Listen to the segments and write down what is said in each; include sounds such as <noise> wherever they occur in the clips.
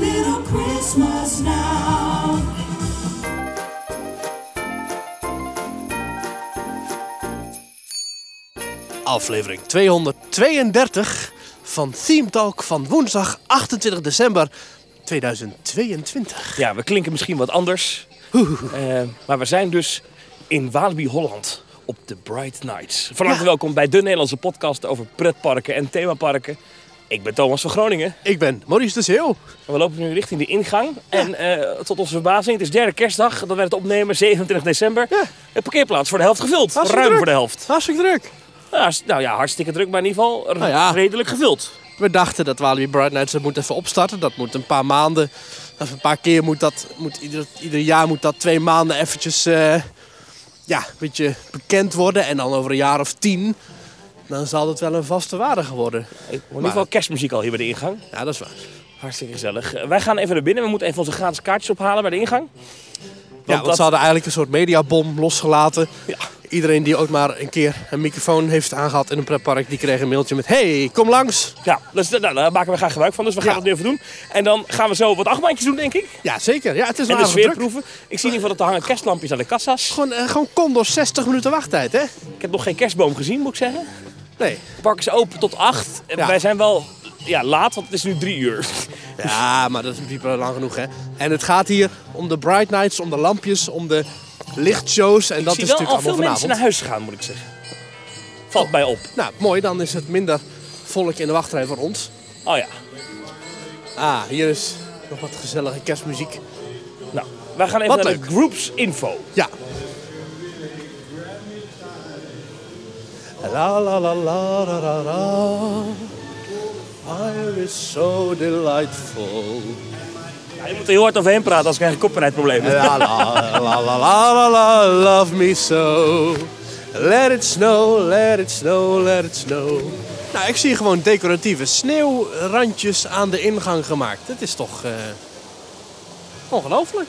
little Christmas now. aflevering 232 van Theme Talk van woensdag 28 december 2022. Ja, we klinken misschien wat anders. Eh, maar we zijn dus in Walibi Holland op de Bright Nights. Van harte Ja. welkom bij de Nederlandse podcast over pretparken en themaparken. Ik ben Thomas van Groningen. Ik ben Maurice de Zeeuw. En we lopen nu richting de ingang. En eh, tot onze verbazing, het is derde kerstdag. Dat werd het opnemen, 27 december. Ja. De parkeerplaats voor de helft gevuld. Hartstikke Ruim druk. voor de helft. Hartstikke druk. Ja, is- nou ja, hartstikke druk, maar in ieder geval Nou ja. redelijk gevuld. We dachten dat Walibi Bright Nights dat moet even opstarten. Dat moet een paar maanden, of een paar keer moet dat, moet ieder, ieder jaar moet dat twee maanden eventjes, eh, ja, een beetje bekend worden. En dan over een jaar of tien, dan zal het wel een vaste waarde geworden. In ieder geval kerstmuziek al hier bij de ingang. Ja, dat is waar. Hartstikke gezellig. Eh, Wij gaan even naar binnen. We moeten even onze gratis kaartjes ophalen bij de ingang. Ja, want dat- ze hadden eigenlijk een soort mediabom losgelaten. Ja. Iedereen die ook maar een keer een microfoon heeft aangehad in een pretpark, die kreeg een mailtje met... Hey, kom langs! Ja, dus, da- nou, daar maken we graag gebruik van. Dus we gaan Ja. het nu even doen. En dan gaan we zo wat achtbaantjes doen, denk ik. Ja, zeker. Ja, het is En een de aardige druk. sfeerproeven. Ik zie in ieder geval dat er hangen kerstlampjes aan de kassa's. Gewoon, eh, gewoon Condor 60 minuten wachttijd, hè? Ik heb nog geen kerstboom gezien, moet ik zeggen. Nee. Het park is open tot acht. En Ja. Wij zijn wel ja, laat, want het is nu drie uur. Ja, maar dat is natuurlijk wel lang genoeg, hè? En het gaat hier om de Bright Nights, om de lampjes, om de lichtshows. En dat ik is zie wel natuurlijk al veel allemaal vanavond. mensen naar huis gaan, moet ik zeggen. Valt mij op. Nou, mooi. Dan is het minder volk in de wachtrij voor ons. Oh ja. Ah, hier is nog wat gezellige kerstmuziek. Nou, wij gaan even Wat naar leuk. de groups info. Ja. La la la la la la la. Fire is so delightful. Ja, je moet er heel hard overheen praten, anders krijg je copyrightproblemen. La la la la la la la, love me so. Let it snow, let it snow, let it snow. Nou, ik zie gewoon decoratieve sneeuwrandjes aan de ingang gemaakt. Dat is toch eh, ongelooflijk.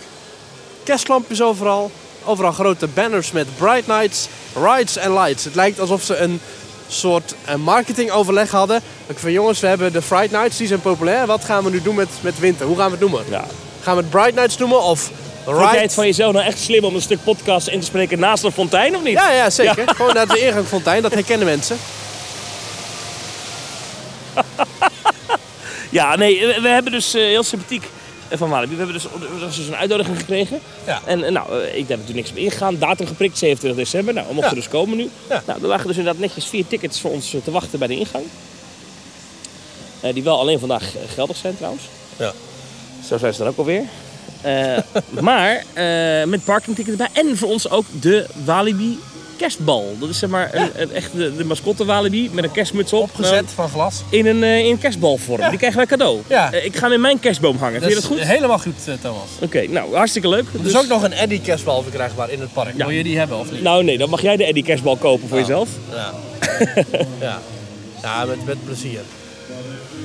Kerstlampjes overal. Overal grote banners met Bright Nights, Rides en Lights. Het lijkt alsof ze een soort eh, marketingoverleg hadden. Ik van jongens, we hebben de Fright Nights, die zijn populair. Wat gaan we nu doen met, met winter? Hoe gaan we het noemen? Ja. Gaan we het Bright Nights noemen of Vind jij Ride? het van jezelf nou echt slim om een stuk podcast in te spreken naast een fontein, of niet? Ja, ja, zeker. Gewoon naar de ingangfontein, dat herkennen mensen. Ja, nee, we, we hebben dus eh, heel sympathiek eh, van Walibi. We hebben dus, er is dus een uitnodiging gekregen. Ja. En eh, nou, eh, ik heb er natuurlijk niks mee ingegaan. Datum geprikt, 27 december. Nou, we mochten Ja. dus komen nu. Ja. Nou, er lagen dus inderdaad netjes vier tickets voor ons eh, te wachten bij de ingang. Eh, die wel alleen vandaag eh, geldig zijn trouwens. Ja. Zo zijn ze dan ook alweer. Eh, <laughs> maar eh, met parkingtickets erbij. En voor ons ook de Walibi kerstbal. Dat is zeg maar een- een- echt de, de mascotte Walibi met een kerstmuts op. Nou, van glas. in een, eh, in kerstbalvorm. Die krijgen wij cadeau. Ja. Eh, ik ga hem in mijn kerstboom hangen. Vind je dat goed? Oké, Helemaal goed, eh, Thomas. nou, hartstikke leuk. Er is ook nog een Eddy kerstbal verkrijgbaar in het park. Ja. Wil je die hebben of niet? Nou nee, dan mag jij de Eddie kerstbal kopen voor jezelf. Ja. ja. Ja, met, met plezier.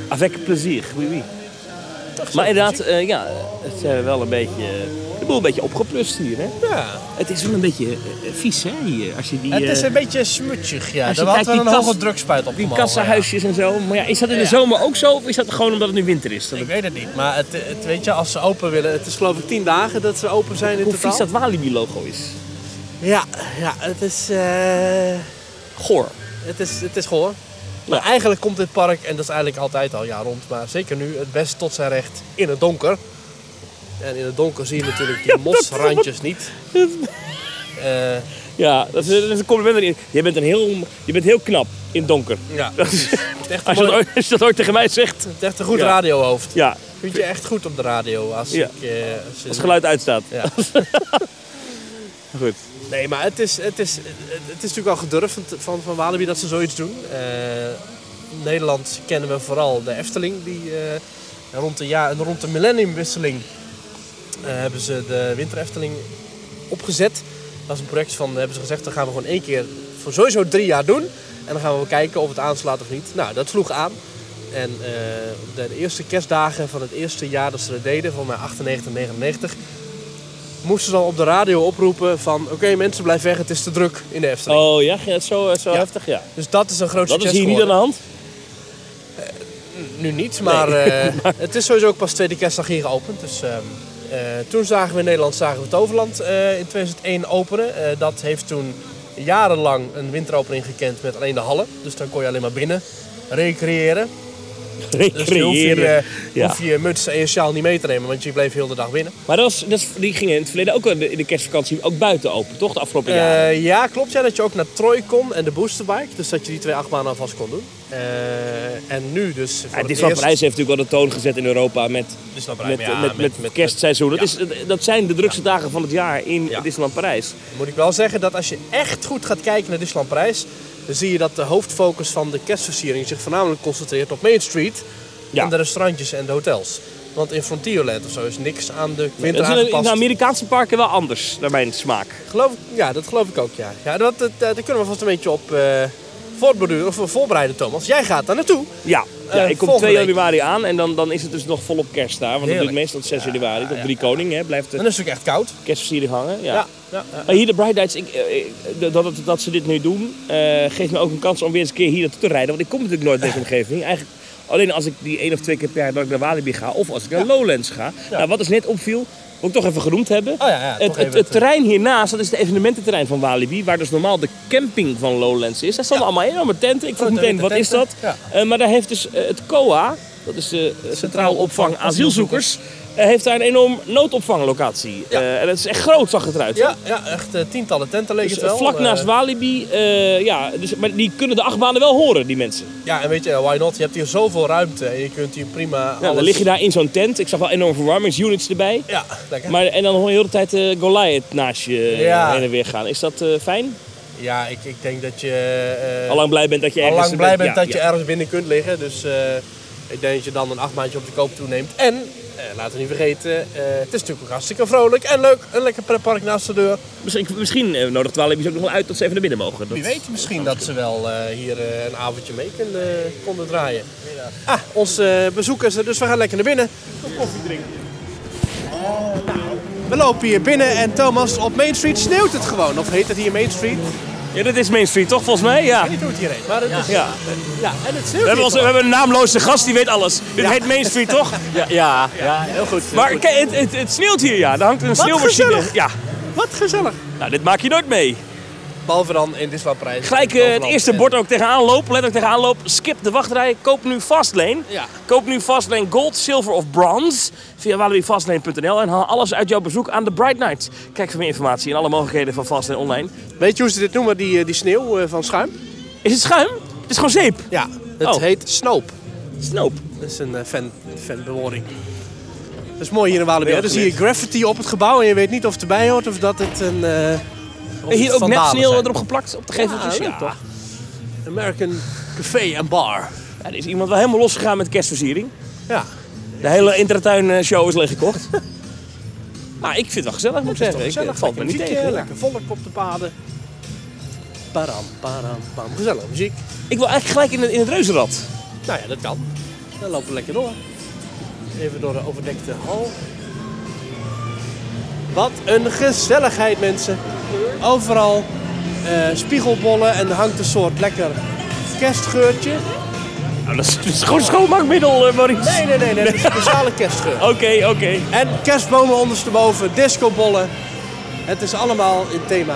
Avec plezier, oui oui. Maar inderdaad, eh, ja, het zijn wel een beetje, eh, de boel een beetje opgeplust hier. Hè? Ja. Het is wel een beetje eh, vies hè hier, als je die, Het is eh, een beetje smutsig, ja. als je Er had kijkt, wel die een kas- hoge drukspuit op die kassenhuisjes en zo. Maar ja, is dat in de Ja. zomer ook zo of is dat gewoon omdat het nu winter is? Dat Ik het, weet het niet, maar het, het, weet je, als ze open willen... Het is geloof ik tien dagen dat ze open zijn in hoe totaal. vies dat Walibi logo is. Ja, ja, het is... eh, Goor. Het is, het is gehoor. Maar Ja. eigenlijk komt dit park, en dat is eigenlijk altijd al jaar rond, maar zeker nu het best tot zijn recht in het donker. En in het donker zie je natuurlijk <laughs> die mosrandjes niet. Eh, Ja, dat is, dat is een compliment. erin. Je bent, een heel, je bent heel knap in het donker. ja, Dat is- het is echt een, Als je, dat mooi- ooit, als je dat ooit tegen mij zegt. het is echt een goed Ja. radiohoofd. Ja, Vind je echt goed op de radio als, Ja. ik, eh, als je- als het geluid uitstaat. Ja. <laughs> Goed. Nee, maar het is, het is, het is natuurlijk al gedurfd van, van, van Walibi dat ze zoiets doen. Eh, in Nederland kennen we vooral de Efteling. Die, eh, rond, de ja, rond de millenniumwisseling eh, hebben ze de Winter Efteling opgezet. Dat is een project van, hebben ze gezegd, dat gaan we gewoon één keer voor sowieso drie jaar doen. En dan gaan we wel kijken of het aanslaat of niet. Nou, dat sloeg aan. En eh, de, de eerste kerstdagen van het eerste jaar dat ze dat deden, van mij 98, 99, moesten ze al op de radio oproepen van... Oké, mensen, blijf weg, het is te druk in de Efteling. Oh ja, ging het zo, eh, zo Ja. heftig? Ja. Dus dat is een groot Dat is succes hier niet aan de geworden. hand. nu niet, maar <laughs> eh, het is sowieso ook pas tweede kerstdag hier geopend. Dus, ehm, eh, toen zagen we in Nederland zagen we het Overland eh, in 2001 openen. Eh, dat heeft toen jarenlang een winteropening gekend met alleen de hallen. Dus dan kon je alleen maar binnen recreëren. Dus nu hoef je, Recreëren. eh, Ja. hoef je muts en je sjaal niet mee te nemen, want je bleef heel de dag binnen. Maar dat was, dat is- die gingen in het verleden ook in de, in de kerstvakantie ook buiten open, toch? De afgelopen jaren. Eh, ja, klopt. Ja, dat je ook naar Troy kon en de Boosterbike. Dus dat je die twee achtbanen alvast kon doen. Eh, en nu dus voor Ja, het Disneyland eerst- Parijs heeft natuurlijk wel de toon gezet in Europa met, Disneyland Parijs, met, ja, met, met, met- kerstseizoen. Dat, ja. is, dat zijn de drukste dagen van het jaar in Ja. Disneyland Parijs. Moet ik wel zeggen dat als je echt goed gaat kijken naar Disneyland Parijs... dan zie je dat de hoofdfocus van de kerstversiering zich voornamelijk concentreert op Main Street... Ja. en de restaurantjes en de hotels. Want in Frontierland of zo is niks aan de winter Dat is in- in de aangepast. Amerikaanse parken wel anders, naar mijn smaak. Geloof ik- ja, dat geloof ik ook, ja. ja dat, dat, daar kunnen we vast een beetje op eh voortborduren of voorbereiden, Thomas. Jij gaat daar naartoe. Ja, ja Eh, ik kom volgende 2 week. januari aan en dan, dan is het dus nog volop kerst daar. Want dat Heerlijk. duurt meestal tot 6 januari, tot drie koningen hè, blijft de Dan is het ook echt koud. kerstversiering hangen. Ja. Ja, ja, ja. Maar hier de Bright Lights, ik, eh, eh, dat, dat, dat ze dit nu doen, eh, geeft me ook een kans om weer eens een keer hier naartoe te rijden. Want ik kom natuurlijk nooit in deze omgeving. Eigenlijk alleen als ik die één of twee keer per jaar dat ik naar Walibi ga of als ik naar Lowlands ga. Nou, wat dus net opviel, moet ik toch even genoemd hebben. Oh ja, ja, toch het, het, even. het terrein hiernaast, dat is het evenemententerrein van Walibi, waar dus normaal de camping van Lowlands is. Daar stonden allemaal enorme tenten. Ik vroeg Grote meteen, wat witte is dat? tenten, Eh, maar daar heeft dus eh, het COA, dat is de eh, Centraal Opvang Asielzoekers, eh, heeft daar een enorm noodopvanglocatie. Ja. Eh, en dat is echt groot, zag het eruit. Ja, ja echt eh, tientallen tenten leek Dus het wel. vlak Eh, naast Walibi, eh, ja, dus, maar die kunnen de achtbanen wel horen, die mensen. Ja, en weet je, why not? Je hebt hier zoveel ruimte en je kunt hier prima Ja, dan lig je daar in zo'n tent. Ik zag wel enorm verwarmingsunits erbij. Ja, lekker. Maar, en dan hoor je de hele tijd eh, Goliath naast je eh, Ja. heen en weer gaan. Is dat eh, fijn? Ja, ik, ik denk dat je... eh, Allang blij bent dat je ergens Allang blij bent ja, dat je ja. ergens binnen kunt liggen. Dus eh, ik denk dat je dan een achtbaantje op de koop toeneemt. En, eh, laten we niet vergeten, eh, het is natuurlijk ook hartstikke vrolijk en leuk. Een lekker pretpark naast de deur. Misschien, misschien eh, nodigt Walibi ook nog wel uit dat ze even naar binnen mogen. Dat- Wie weet misschien dat ze wel eh, hier eh, een avondje mee konden, konden draaien. Ah, onze eh, bezoekers, dus we gaan lekker naar binnen. koffie drinken. We lopen hier binnen en Thomas, op Main Street sneeuwt het gewoon. Of heet het hier Main Street? Ja, dat is Main Street toch volgens mij? Ja. Ik weet niet hoe het hier heet, maar het is... ja. Ja, en het We sneeuwt hebben, hier ons- we gewoon. hebben een naamloze gast, die weet alles. Dit heet Main Street toch? Ja, ja. Heel goed. heel Maar goed. kijk, het, het, het sneeuwt hier, ja. Daar hangt een sneeuwmachine. gezellig. Ja. Wat gezellig. Nou, dit maak je nooit mee. Behalve dan in Disneyland Parijs. Gelijk eh, het eerste bord ook tegenaan lopen. Let ook tegenaan lopen. Skip de wachtrij. Koop nu Fastlane. Ja. Koop nu Fastlane Gold, Silver of Bronze via walibifastlane.nl en haal alles uit jouw bezoek aan de Bright Night. Kijk voor meer informatie en alle mogelijkheden van Fastlane online. Weet je hoe ze dit noemen, die, eh, die sneeuw eh, van schuim? Is het schuim? Het is gewoon zeep. Ja. Het Oh. heet snoop. Snoop. Dat is een eh, fan, fanbewoording. Dat is mooi hier in Walibi. Wel hè? Dan zie je graffiti op het gebouw en je weet niet of het erbij hoort of dat het een... eh of Hier het ook net vandalen sneeuw zijn. erop geplakt op de geveltjes. Ja, leuk toch? American Café en Bar. Ja, er is iemand wel helemaal losgegaan met kerstversiering. Ja. De hele Intratuin eh, show is <laughs> leeggekocht. Maar ik vind het wel gezellig, moet ik zeggen. Ik- Gezellig, Het valt me lekker eh, niet muziekje, tegen. ja. Lekker volk op de paden. Param, param, param. Gezellig muziek. Ik wil eigenlijk gelijk in het, in het reuzenrad. Nou ja, dat kan. Dan lopen we lekker door. Even door de overdekte hal. Wat een gezelligheid, mensen. Overal eh, spiegelbollen en er hangt een soort lekker kerstgeurtje. Nou, dat is, dat is gewoon schoonmaakmiddel, eh, Maurice. Nee, nee, nee, nee. Dat is een speciale <laughs> kerstgeur. Oké, oké. En kerstbomen ondersteboven, discobollen. Het is allemaal in thema.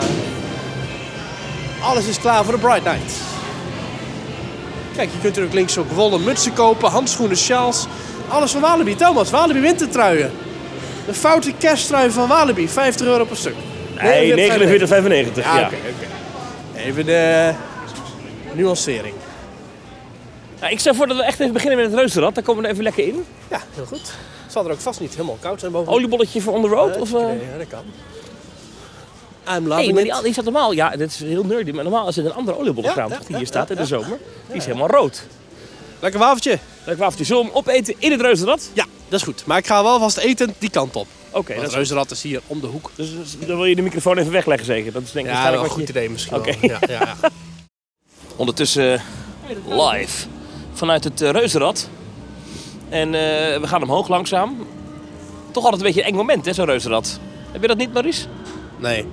Alles is klaar voor de Bright Night. Kijk, je kunt er ook links ook wollen mutsen kopen, handschoenen, sjaals. Alles van Walibi. Thomas, Walibi wintertruien. De foute kersttrui van Walibi, 50 euro per stuk. Nee, 49,95. 49,95. Ja, Ja, Ah, oké, oké. Even de nuancering. Nou, ik stel voor dat we echt even beginnen met het reuzenrad. Dan komen we er even lekker in. Ja, heel goed. Het zal er ook vast niet helemaal koud zijn boven. Oliebolletje voor on the road? Of, eh? Nee, dat kan. I'm Nee, loving maar it. die, die staat normaal. Ja, dit is heel nerdy. Maar normaal is het een andere oliebollenkraam Ja, ja, toch, die ja, hier staat ja, in de zomer. Die is helemaal rood. Lekker wafeltje. Leuk wafeltje. Zullen we hem opeten in het reuzenrad? Ja, dat is goed. Maar ik ga wel vast eten die kant op. Oké, Want dat is reuzenrad is hier om de hoek. Dus dus dan wil je de microfoon even wegleggen zeker? Dat is denk ik Ja, dat waarschijnlijk wel een wat goed je... idee misschien Oké. wel. Ja, ja, ja. Ondertussen eh, live vanuit het eh, Reuzenrad. En eh, we gaan omhoog langzaam. Toch altijd een beetje een eng moment hè, zo'n Reuzenrad. Heb je dat niet Maurice? Nee.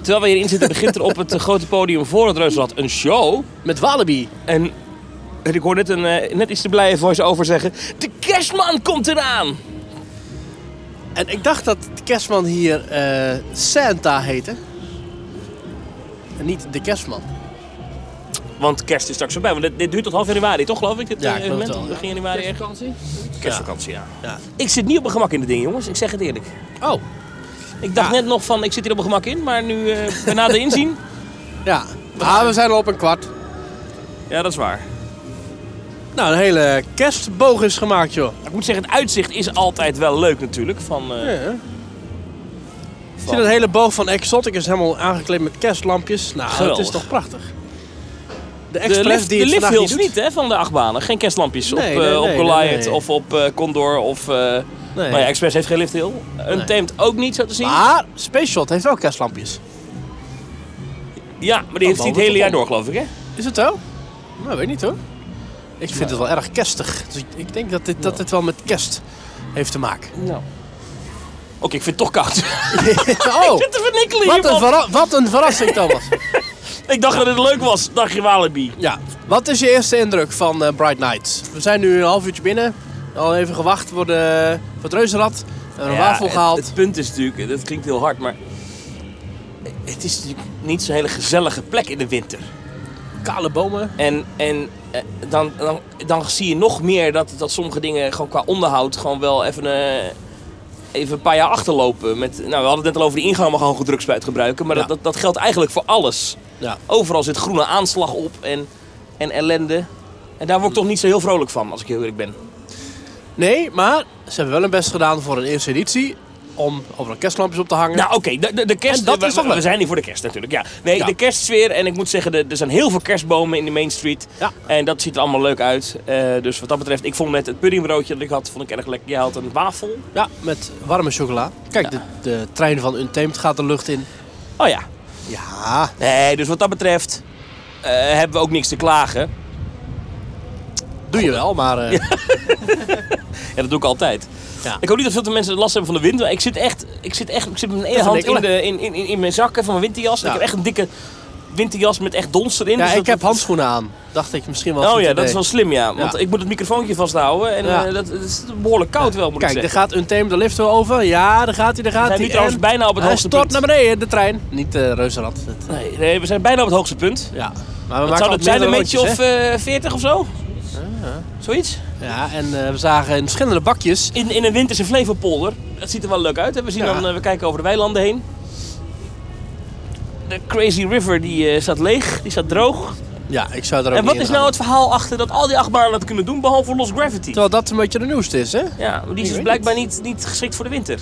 Terwijl <laughs> we hierin zitten begint er op het eh, grote podium voor het Reuzenrad een show. Met Walibi. En En ik hoor net, een, eh, net iets te blije voice-over zeggen... De kerstman komt eraan! En ik dacht dat de kerstman hier eh, Santa heette. En niet de kerstman. Want kerst is straks voorbij. Want dit, dit duurt tot half januari, toch geloof ik? Dit Ja, eh, ik geloof het evenement? wel, ja. Begin januari ergens. Vakantie? Kerstvakantie, ja. Ja. Ik zit niet op mijn gemak in dit ding, jongens. Ik zeg het eerlijk. Oh, Ik dacht net nog van, ik zit hier op mijn gemak in. Maar nu, eh bij nader inzien... ja. Ah, we zijn al op een kwart. <laughs> Ja, dat is waar. Nou, een hele kerstboog is gemaakt, joh. Ik moet zeggen, het uitzicht is altijd wel leuk natuurlijk. Van, eh, Ja. Ik zie dat hele boog van Exotic is helemaal aangekleed met kerstlampjes. Nou, dat Geweldig. is toch prachtig. De de Express lift, die de het lift vandaag niet hills doet. niet, hè, van de achtbanen. Geen kerstlampjes op, Nee, eh, nee, op nee, Goliath nee, nee. of op eh, Condor. Of, eh Nee. Nou ja, Express heeft geen lift hill. Untamed ook niet, zo te zien. Maar Space Shot heeft wel kerstlampjes. Ja, maar die heeft hij het hele jaar door, geloof ik, hè? Is het zo? Nou, weet niet hoor. Ik vind het wel erg kerstig. Dus ik, ik denk dat dit, dat dit wel met kerst heeft te <laughs> maken. Nou. Oké, ik vind het toch koud. oh, <laughs> Zit te vernikkelen wat een, hiervan. verra- wat een verrassing Thomas. <laughs> Ik dacht dat het leuk was, dacht je Walibi. ja, wat is je eerste indruk van eh, Bright Nights? We zijn nu een half uurtje binnen. Al even gewacht voor, de, voor het reuzenrad. En een Ja, wafel het- gehaald. Het, punt is natuurlijk, eh, dat klinkt heel hard, maar... Het is natuurlijk niet zo'n hele gezellige plek in de winter. kale bomen. En, en eh, dan, dan, dan zie je nog meer dat, dat sommige dingen gewoon qua onderhoud gewoon wel even, eh, even een paar jaar achterlopen. Met, nou, we hadden het net al over die ingang, maar gewoon gedrukspuit gebruiken. Maar Ja. dat, dat, dat geldt eigenlijk voor alles. Ja. Overal zit groene aanslag op en, en ellende. En daar word ik toch niet zo heel vrolijk van, als ik heel eerlijk ben. Nee, maar ze hebben wel hun best gedaan voor een eerste editie. Om overal kerstlampjes op te hangen. Nou, oké, de, de, de kerst. En dat we, is toch we- leuk? we zijn hier voor de kerst natuurlijk. Ja. Nee, Ja. de kerstsfeer. En ik moet zeggen, de- er zijn heel veel kerstbomen in de Main Street. Ja. En dat ziet er allemaal leuk uit. Eh, dus wat dat betreft, ik vond net het puddingbroodje dat ik had, vond ik erg lekker. Jij had een wafel. Ja, met warme chocola. Kijk, de, de trein van Untamed gaat de lucht in. Oh ja. Ja, Nee, dus wat dat betreft eh, hebben we ook niks te klagen. doe je wel, maar... eh, Ja, dat doe ik altijd. Ja. Ik hoop niet dat veel te mensen last hebben van de wind. maar Ik zit echt, ik zit echt, ik zit met mijn ene Dat hand is een in, de, in, in, in, in mijn zakken van mijn winterjas. Ja. Ik heb echt een dikke winterjas met echt dons erin. Ja, dus ik dat- heb handschoenen aan. Dacht ik misschien wel. een Oh goed ja, idee. dat is wel slim, ja. Want Ja. ik moet het microfoontje vasthouden en Ja. eh, dat, dat is behoorlijk koud wel, moet Kijk, ik daar zeggen. gaat Untamed de lift wel over. Ja, daar gaat hij, daar gaat We zijn hij. nu trouwens En bijna op het Hij hoogste stort punt. naar beneden, de trein. Niet de reuzenrad. Het- Nee, nee, we zijn bijna op het hoogste punt. Ja. Maar we Wat maken zou altijd dat zijn? Een meerdere beetje rondjes, Ah. of eh 40 of zo? Zoiets? hè. Ja, en eh, we zagen in verschillende bakjes. In, in een winterse Flevopolder. Dat ziet er wel leuk uit. Hè? We, zien Ja. dan, eh, we kijken over de weilanden heen. De Crazy River die eh, staat leeg, die staat droog. Ja, ik zou daar ook En wat niet is in gaan. nou het verhaal achter dat al die achtbanen dat kunnen doen, behalve Lost Gravity? Terwijl dat een beetje de nieuwste is, hè? Ja, maar die is dus weet blijkbaar niet, niet geschikt voor de winter.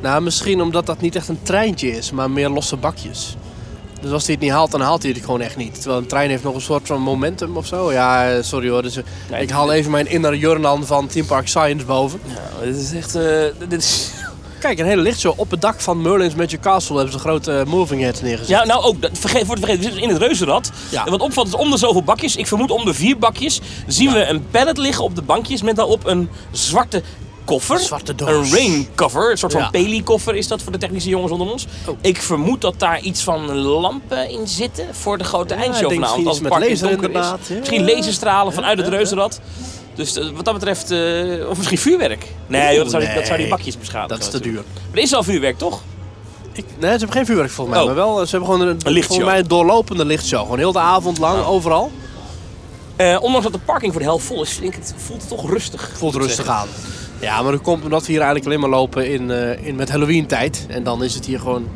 Nou, misschien omdat dat niet echt een treintje is, maar meer losse bakjes. Dus als hij het niet haalt, dan haalt hij het gewoon echt niet. Terwijl een trein heeft nog een soort van momentum of zo. Ja, eh, sorry hoor. Dus, eh, Nee, ik haal even mijn inner Jurnan van Team Park Science boven. Nou, dit is echt... eh, dit is... Kijk, een hele lichtshow. Op het dak van Merlin's Magic Castle hebben ze grote eh, moving heads neergezet. Ja, nou ook, dat, vergeet, wordt vergeten, we zitten in het reuzenrad. Ja. En wat opvalt is om de zoveel bakjes, ik vermoed om de vier bakjes, zien we een pallet liggen op de bankjes met daarop een zwarte koffer. Een zwarte doos. Een rain cover, een soort van Ja. peli-koffer is dat voor de technische jongens onder ons. Oh. Ik vermoed dat daar iets van lampen in zitten voor de grote ik eindshow denk vanavond. misschien Als het iets met park in het laser donker is. inderdaad, ja. Misschien laserstralen vanuit het reuzenrad. Dus eh, wat dat betreft, eh, of misschien vuurwerk. Nee, joh, dat, zou die, dat zou die nee. bakjes beschadigen. dat is te natuurlijk. duur. Maar er is al vuurwerk, toch? Ik, nee, ze hebben geen vuurwerk volgens mij. Oh. Maar wel, eh, ze hebben gewoon een, lichtshow. Oh. volgens mij een doorlopende lichtshow. Gewoon heel de avond lang, overal. Eh, ondanks dat de parking voor de helft vol is, vind ik het, voelt het toch rustig. Voelt moet ik rustig aan. Ja, maar dat komt omdat we hier eigenlijk alleen maar lopen in, eh, in, met Halloween tijd. En dan is het hier gewoon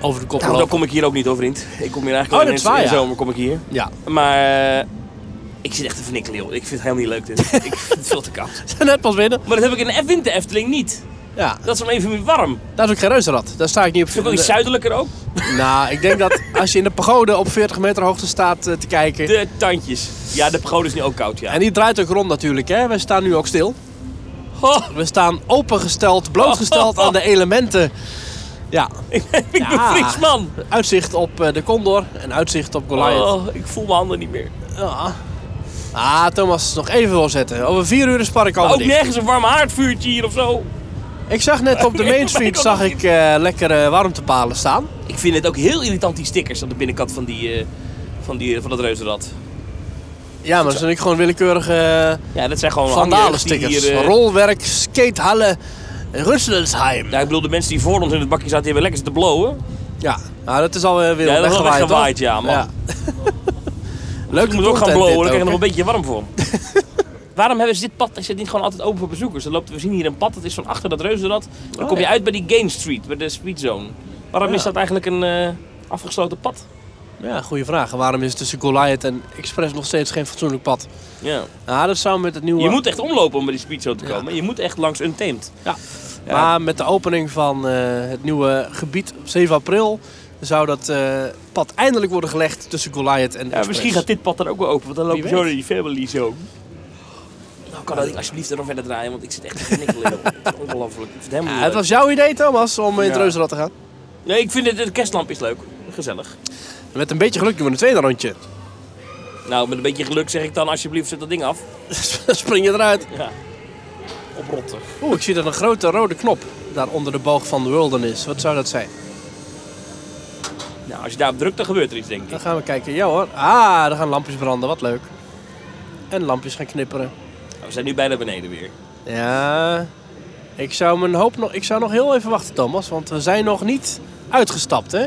over de kop Nou, dan lopen. kom ik hier ook niet over, vriend. Ik kom hier eigenlijk Oh, alleen dat is in- waar, in de ja. zomer kom ik hier. Ja, <laughs> Maar eh, ik zit echt te vernikkelen, joh. Ik vind het helemaal niet <laughs> leuk, dit. ik vind het veel te koud. net pas binnen. Maar dat heb ik in de F- winter Efteling niet. Ja, Dat is om even meer warm. daar is ook geen reuzenrad. Daar sta ik niet Vind ik wel op. iets zuidelijker ook. Nou, ik denk dat als je in de pagode op 40 meter hoogte staat eh, te kijken. De tandjes. Ja, de pagode is nu ook koud, ja. En die draait ook rond natuurlijk, hè. Wij staan nu ook stil. Oh, We staan opengesteld, blootgesteld aan de elementen. Ja, ik ben Ja. Fries man. uitzicht op eh, de Condor en uitzicht op Goliath. Oh, ik voel mijn handen niet meer. Ja. Ah, Thomas, nog even voorzetten. Over vier uur is het park al Maar ook dicht. nergens een warm haardvuurtje hier of zo. Ik zag net op de Nee, Main maar Street <laughs> ik zag ook ik, eh, lekkere warmtepalen staan. Ik eh, vind het ook heel irritant, die stickers aan de binnenkant van, die, eh, van, die, van dat reuzenrad. Ja, maar dan zijn ik gewoon willekeurige Ja, dat zijn gewoon vandalen hangers die stickers. hier, eh, Rolwerk, skatehallen, Russelsheim. Ja, ik bedoel, de mensen die voor ons in het bakje zaten, die hebben lekker zitten blowen. Ja, nou, dat is alweer weer Ja, dat is wel weggewaaid, weggewaaid, toch? ja, man. <laughs> Leuk Ik moet ook gaan content dit blowen, dan krijg je ook, nog hè? een beetje warm voor. <laughs> Waarom hebben ze dit pad, is dit niet gewoon altijd open voor bezoekers? Er loopt, we zien hier een pad, dat is van achter dat reuzenrad. Dan kom je uit bij die Gain Street, bij de Street Zone. Waarom Ja. is dat eigenlijk een eh, afgesloten pad? Ja, goede vraag. En waarom is tussen Goliath en Express nog steeds geen fatsoenlijk pad? Ja. Nou, dat zou met het nieuwe... Je moet echt omlopen om bij die Street Zone te komen. Je moet echt langs Untamed. Ja. Ja. Maar met de opening van eh, het nieuwe gebied op 7 april... zou dat eh, pad eindelijk worden gelegd tussen Goliath en Ja, Express. misschien gaat dit pad dan ook wel open, want dan Wie loop je zo weet. naar die Family Zone. Nou, kan dat niet alsjeblieft er nog verder draaien, want ik zit echt te knikkelen. joh. Het is Ongelooflijk. Ik vind het helemaal Ja, niet het leuk. was jouw idee, Thomas, om in het Ja. Reuzenrad te gaan. Nee, ik vind het, de kerstlamp is leuk. Gezellig. Met een beetje geluk doen we een tweede rondje. <laughs> Nou, met een beetje geluk zeg ik dan alsjeblieft zet dat ding af. Spring je eruit. Ja. Oprotten. Oeh, ik zie dan een grote rode knop daar onder de boog van de Wilderness. Wat zou dat zijn? Nou, als je daarop drukt, dan gebeurt er iets, denk ik. Dan gaan we kijken. Ja hoor. Ah, er gaan lampjes branden. Wat leuk. En lampjes gaan knipperen. We zijn nu bijna beneden weer. Ja. Ik zou, mijn hoop nog, ik zou nog heel even wachten, Thomas. Want we zijn nog niet uitgestapt, hè?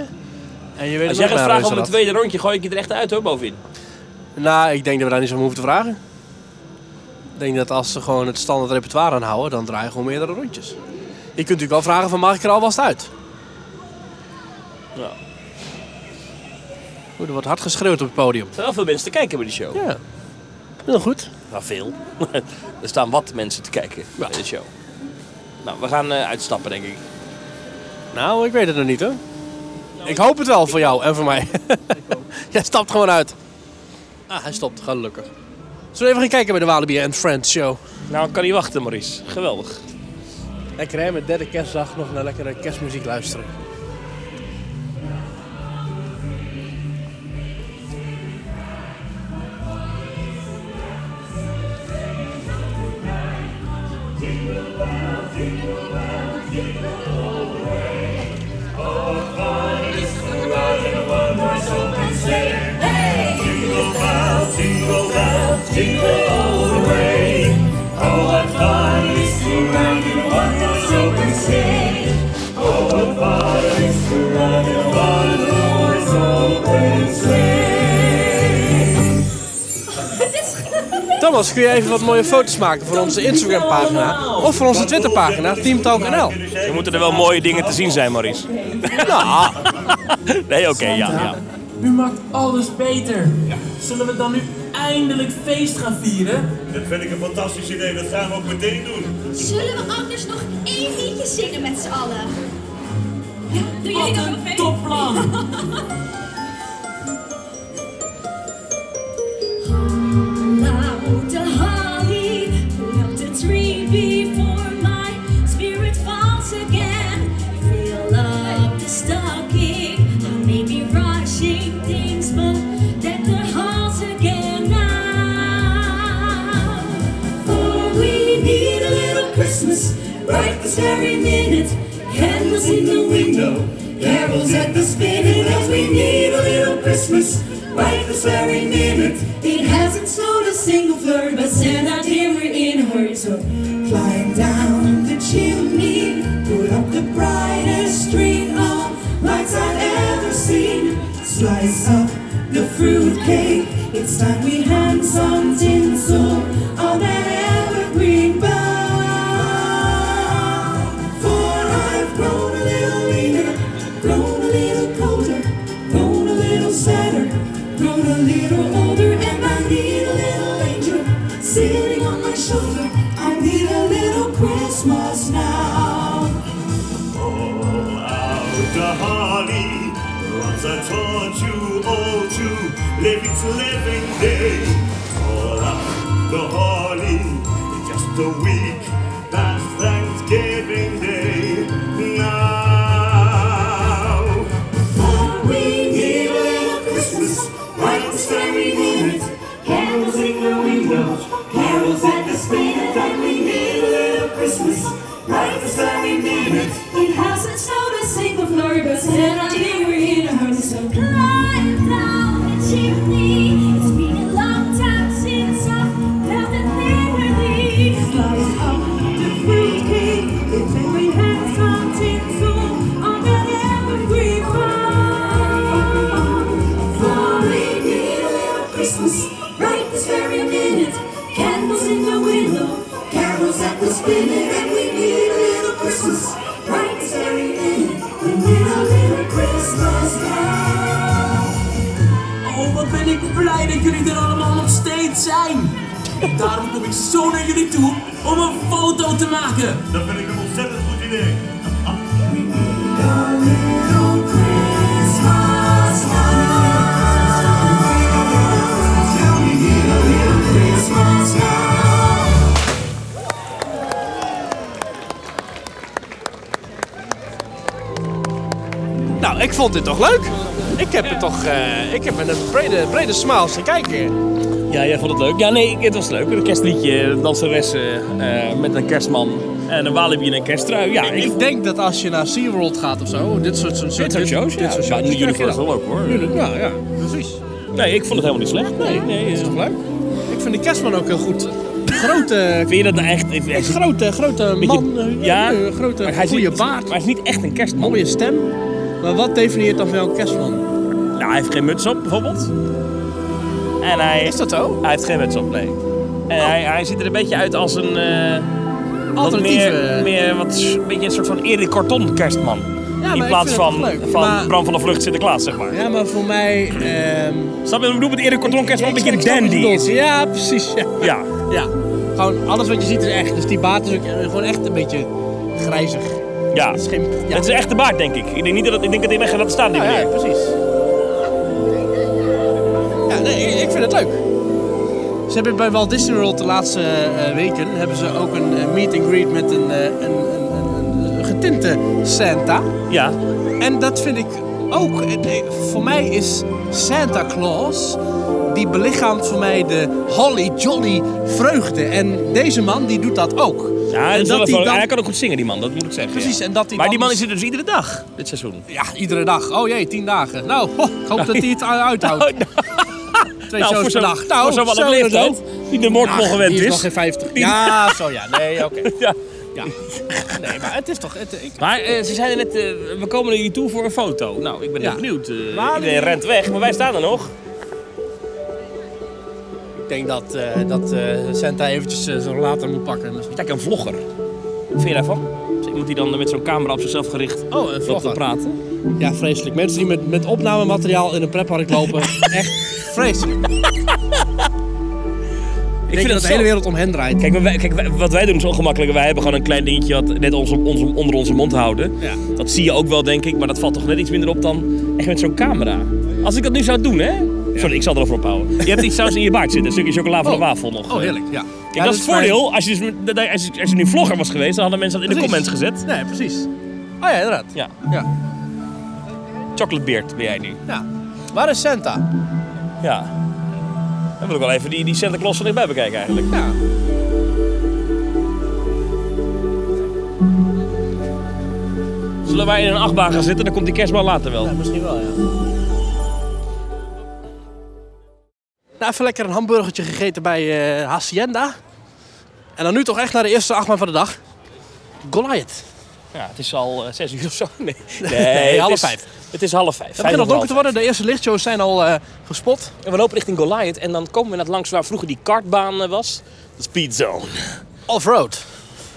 En je weet het Als jij nog naar gaat vragen om een Reuzenrad. tweede rondje, gooi ik je er echt uit hoor, bovenin. Nou, ik denk dat we daar niet zo om hoeven te vragen. Ik denk dat als ze gewoon het standaard repertoire aanhouden, dan draaien gewoon meerdere rondjes. Je kunt natuurlijk wel vragen van mag ik er alvast uit? Ja. Oeh, er wordt hard geschreeuwd op het podium. Er zijn wel veel mensen te kijken bij die show. Ja. Heel goed. Nou, veel. <laughs> er staan wat mensen te kijken bij de show. Nou, we gaan eh, uitstappen, denk ik. Nou, ik weet het nog niet hoor. ik hoop het wel voor jou en voor mij. <laughs> Jij stapt gewoon uit. Ah, hij stopt, gelukkig. Zullen we even gaan kijken bij de Walibi and Friends show? Nou, ik kan niet wachten, Maurice. Geweldig. Lekker hè, met derde kerstdag nog naar lekkere kerstmuziek luisteren. Thomas, kun je even wat mooie foto's maken voor onze Instagram-pagina of voor onze Twitter-pagina, TeamTalk.nl? Er moeten er wel mooie dingen te zien zijn, Maurice. <laughs> nee, oké, ja, ja. U maakt alles beter. Zullen we dan nu eindelijk feest gaan vieren? Dat vind ik een fantastisch idee, dat gaan we ook meteen doen. Zullen we anders nog één liedje zingen met z'n allen? Ja, doen jullie Wat dat ook een mee? topplan! Loud the holly, pull up the tree before my spirit falls again. Fill up the stocking, I may be rushing things, but that the halls again now. For we need a little Christmas right this very minute. Candles in the window, carols at the spinning as we need a little Christmas right this very minute. It hasn't snowed a single flurry, but Santa dear, we're in a hurry, so climb down the chimney, put up the brightest string of lights I've ever seen. Slice up the fruitcake. It's time we hang some tinsel on that evergreen bough. For I've grown a little leaner, grown a little colder, grown a little sadder, grown a little older, and I need a little angel sitting on my shoulder. I need a little Christmas now. All out the holly, once I taught you all to live its living day. All out the holly, just a week past Thanksgiving Day. Now, For we need a little Christmas, right this very minute. Carols in the windows, carols at the spinet that we need a little Christmas. Right this very minute. It hasn't snowed a single flurry, but Santa dear, we're in a hurry, so climb down the chimney. It's been a long time since. Christmas, bright as every minute, when we're a little Christmas now. Oh, wat ben ik blij dat jullie er allemaal nog steeds zijn. En daarom kom ik zo naar jullie toe om een foto te maken. Dat vind ik een ontzettend goed idee. We need a little Christmas now. Tell me, need a little Christmas now. Nou, ik vond dit toch leuk? Ik heb het toch... eh, ik heb met een brede, brede smaal te kijken. Ja, jij vond het leuk. Ja, nee, het was leuk. Een kerstliedje, een danseressen eh, met een kerstman en een walibi en een kersttrui. Ja, ik, Ik denk dat als je naar SeaWorld gaat of zo, dit soort, soort, dit soort shows. dit ja. soort Ja, shows, en die krijg je dan. Universal ook hoor. Ja, ja, precies. Nee, ik vond het helemaal niet slecht. Nee, nee. eh. Is toch leuk? Ik vind de kerstman ook heel goed. Grote, Vind je dat nou echt... echt- echt- grote, grote beetje- man. eh, ja, eh, maar grote, hij is goede niet- baard. Maar hij is niet echt een kerstman. Mooie stem. Maar wat definieert dan wel een kerstman? Nou, hij heeft geen muts op bijvoorbeeld. En hij... Oh. Is dat zo? Hij heeft geen muts op, nee. En hij, hij ziet er een beetje uit als een... eh, wat Alternatieve. meer, meer wat, s- een beetje een soort van Erik Korton kerstman. maar In ik plaats vind het van, wel leuk. van Maar- Bram van de Vlucht Sinterklaas, zeg maar. Ja, maar voor mij... ehm Snap je wat ik bedoel met Erik Korton kerstman? Een beetje snap wat je dandy. bedoelt. is hij. Ja, precies. Ja. Ja. Ja. Gewoon alles wat je ziet is echt. Dus die baard is ook eh, gewoon echt een beetje grijzig. Ja. Schimp. Ja, Het is echt de baard, denk ik. Ik denk, niet dat, het- ik denk dat hij weg gaat laten staan, die ja, meneer. ja, precies. Ja, nee, ik, ik vind het leuk. Ze hebben bij Walt Disney World de laatste eh, weken hebben ze ook een eh, meet and greet met een, eh, een, een, een, een getinte Santa. Ja. En dat vind ik ook. eh, nee, Voor mij is Santa Claus. Die belichaamt voor mij de holly jolly vreugde. En deze man die doet dat ook. en Ja, dat is wel dat even- hij hij dan... kan ook goed zingen, die man. Dat moet ik zeggen. Precies, ja. en dat hij maar dan die man dus- Nou, is er dus iedere dag dit <laughs> seizoen. Ja, iedere dag. Oh jee, tien dagen. Nou, ho, ik hoop dat hij <laughs> het uithoudt. Twee shows nou, Oh, voor per zo'n dag. Nou, voor zo'n wat zo een leeftijd inderdaad. die de moord Ach, gewend die is. is nog geen 50. Ja, zo ja. Nee, oké. <laughs> Ja. Ja. Nee, maar het is toch... Het, ik, Maar eh, ze zeiden net, eh, we komen naar jullie toe voor een foto. Nou, ik ben Ja. heel benieuwd. Eh, Maar- iedereen rent weg, maar wij staan er nog. ik denk dat, eh, dat eh, Santa eventjes eh, zo'n later moet pakken. misschien. Kijk, een vlogger. Wat vind je daarvan? Is iemand die dan met zo'n camera op zichzelf gericht Oh, een loopt te vlogger. praten? Ja, vreselijk. Mensen die met, met opnamemateriaal in een pretpark <laughs> lopen. echt vreselijk. Ik, denk het dat de zo- hele wereld om hen draait. Kijk, maar wij- kijk wij- wat wij doen is ongemakkelijk. Wij hebben gewoon een klein dingetje wat net onze, onze, onder onze mond houden. Ja. Dat zie je ook wel, denk ik. Maar dat valt toch net iets minder op dan echt met zo'n camera. Als ik dat nu zou doen, hè? Sorry, ik zal erover ophouden. Je hebt iets saus in je baard zitten. Een stukje chocola van de wafel nog. Oh, heerlijk. Ja. Kijk, dat is het voordeel. Als je, dus, dat- als, je, als je nu vlogger was geweest, dan hadden mensen dat in de comments gezet. Nee, precies. Oh ja, inderdaad. Ja, Ja. chocolatebeard ben jij nu. ja. Waar is Santa? Ja. Dan wil ik wel even die, die Santa Claus van dichtbij bekijken eigenlijk. Ja. Zullen wij in een achtbaan gaan zitten, dan komt die kerstbal later wel. misschien wel, ja. Nou, even lekker een hamburgertje gegeten bij eh, Hacienda. En dan nu toch echt naar de eerste achtbaan van de dag. Goliath. Ja, het is al eh, zes uur of zo. <laughs> Nee, Nee, het half is- vijf. Het is half vijf. Het begint al over donker half te worden. De eerste lichtshows zijn al eh, gespot. En we lopen richting Goliath en dan komen we net langs waar vroeger die kartbaan eh, was. De speedzone. Off-road.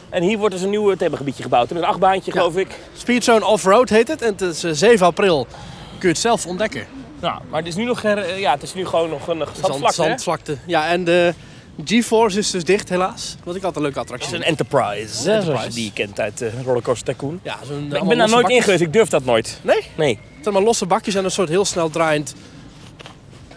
En hier wordt dus een nieuw eh, themagebiedje gebouwd. En een achtbaantje, geloof ik. Speedzone Off-road heet het. En het is eh, 7 april. Kun je het zelf ontdekken. Nou, maar het is nu nog her, eh, ja, het is nu gewoon nog een eh, zandvlakte. Zand, hè? zandvlakte. Ja, en de GeForce is dus dicht helaas. Wat ik altijd een leuke attractie Het is vind. een enterprise, hè, zoals je Enterprise. die kent uit eh Rollercoaster Tycoon. Ja, zo'n ik allemaal ben losse daar nooit in bakjes. geweest, ik durf dat nooit. Nee? Nee. Het zijn maar losse bakjes en een soort heel snel draaiend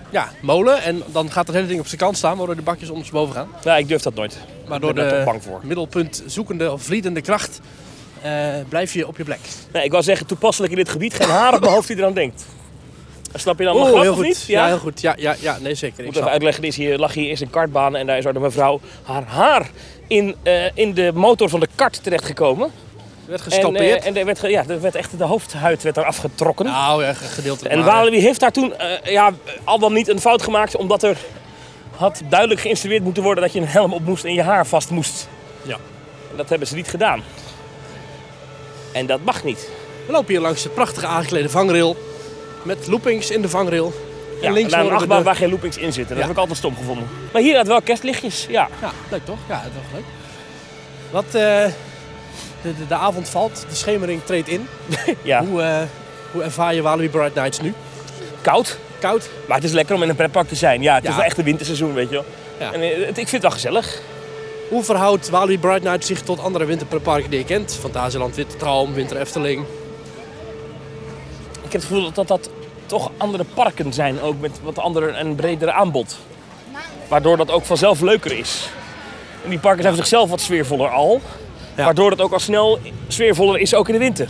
ja, molen. En dan gaat het hele ding op zijn kant staan, waardoor de bakjes ondersteboven gaan. Ja, ik durf dat nooit. Maar ben door daar de toch bang voor. middelpunt zoekende of vliedende kracht eh, blijf je op je plek. Nee, ik wou zeggen, toepasselijk in dit gebied, geen haar op mijn hoofd die eraan denkt. Snap je dan mijn Oeh, grap heel of goed. niet? Ja? heel goed. Ja, ja, ja nee, zeker. Ik Ik moet even snap. uitleggen, er is hier, lag hier eerst een kartbaan en daar is waar de mevrouw haar haar in, eh, in de motor van de kart terechtgekomen. Er werd En, gestoppeerd. eh en er werd, ge- ja, er werd echt, de hoofdhuid werd daar afgetrokken. nou, ja, gedeeltelijk. en maar, hè. Walibi heeft daar toen eh, ja, al dan niet een fout gemaakt, omdat er had duidelijk geïnstrueerd moeten worden dat je een helm op moest en je haar vast moest. Ja. En dat hebben ze niet gedaan. En dat mag niet. We lopen hier langs de prachtige aangeklede vangrail. Met loopings in de vangrail. Ja, en links naar een horen we achtbaan de- waar geen loopings in zitten. Dat Ja. heb ik altijd stom gevonden. Maar hier had wel kerstlichtjes. Ja. Ja, leuk toch? Ja, dat was leuk. Wat, eh, de, de, de avond valt, de schemering treedt in. Ja, Hoe, eh, hoe ervaar je Walibi Bright Nights nu? koud. Koud? Maar het is lekker om in een pretpark te zijn. Ja, het is Ja. wel echt een winterseizoen, weet je wel. Ja. En eh, het- ik vind het wel gezellig. Hoe verhoudt Walibi Bright Nights zich tot andere winterparken die je kent? Fantasieland, Witte Traum, Winter Efteling. Ik heb het gevoel dat dat, dat toch andere parken zijn, ook met wat andere en bredere aanbod. Waardoor dat ook vanzelf leuker is. En die parken zijn voor zichzelf wat sfeervoller al. Ja. Waardoor het ook al snel sfeervoller is, ook in de winter.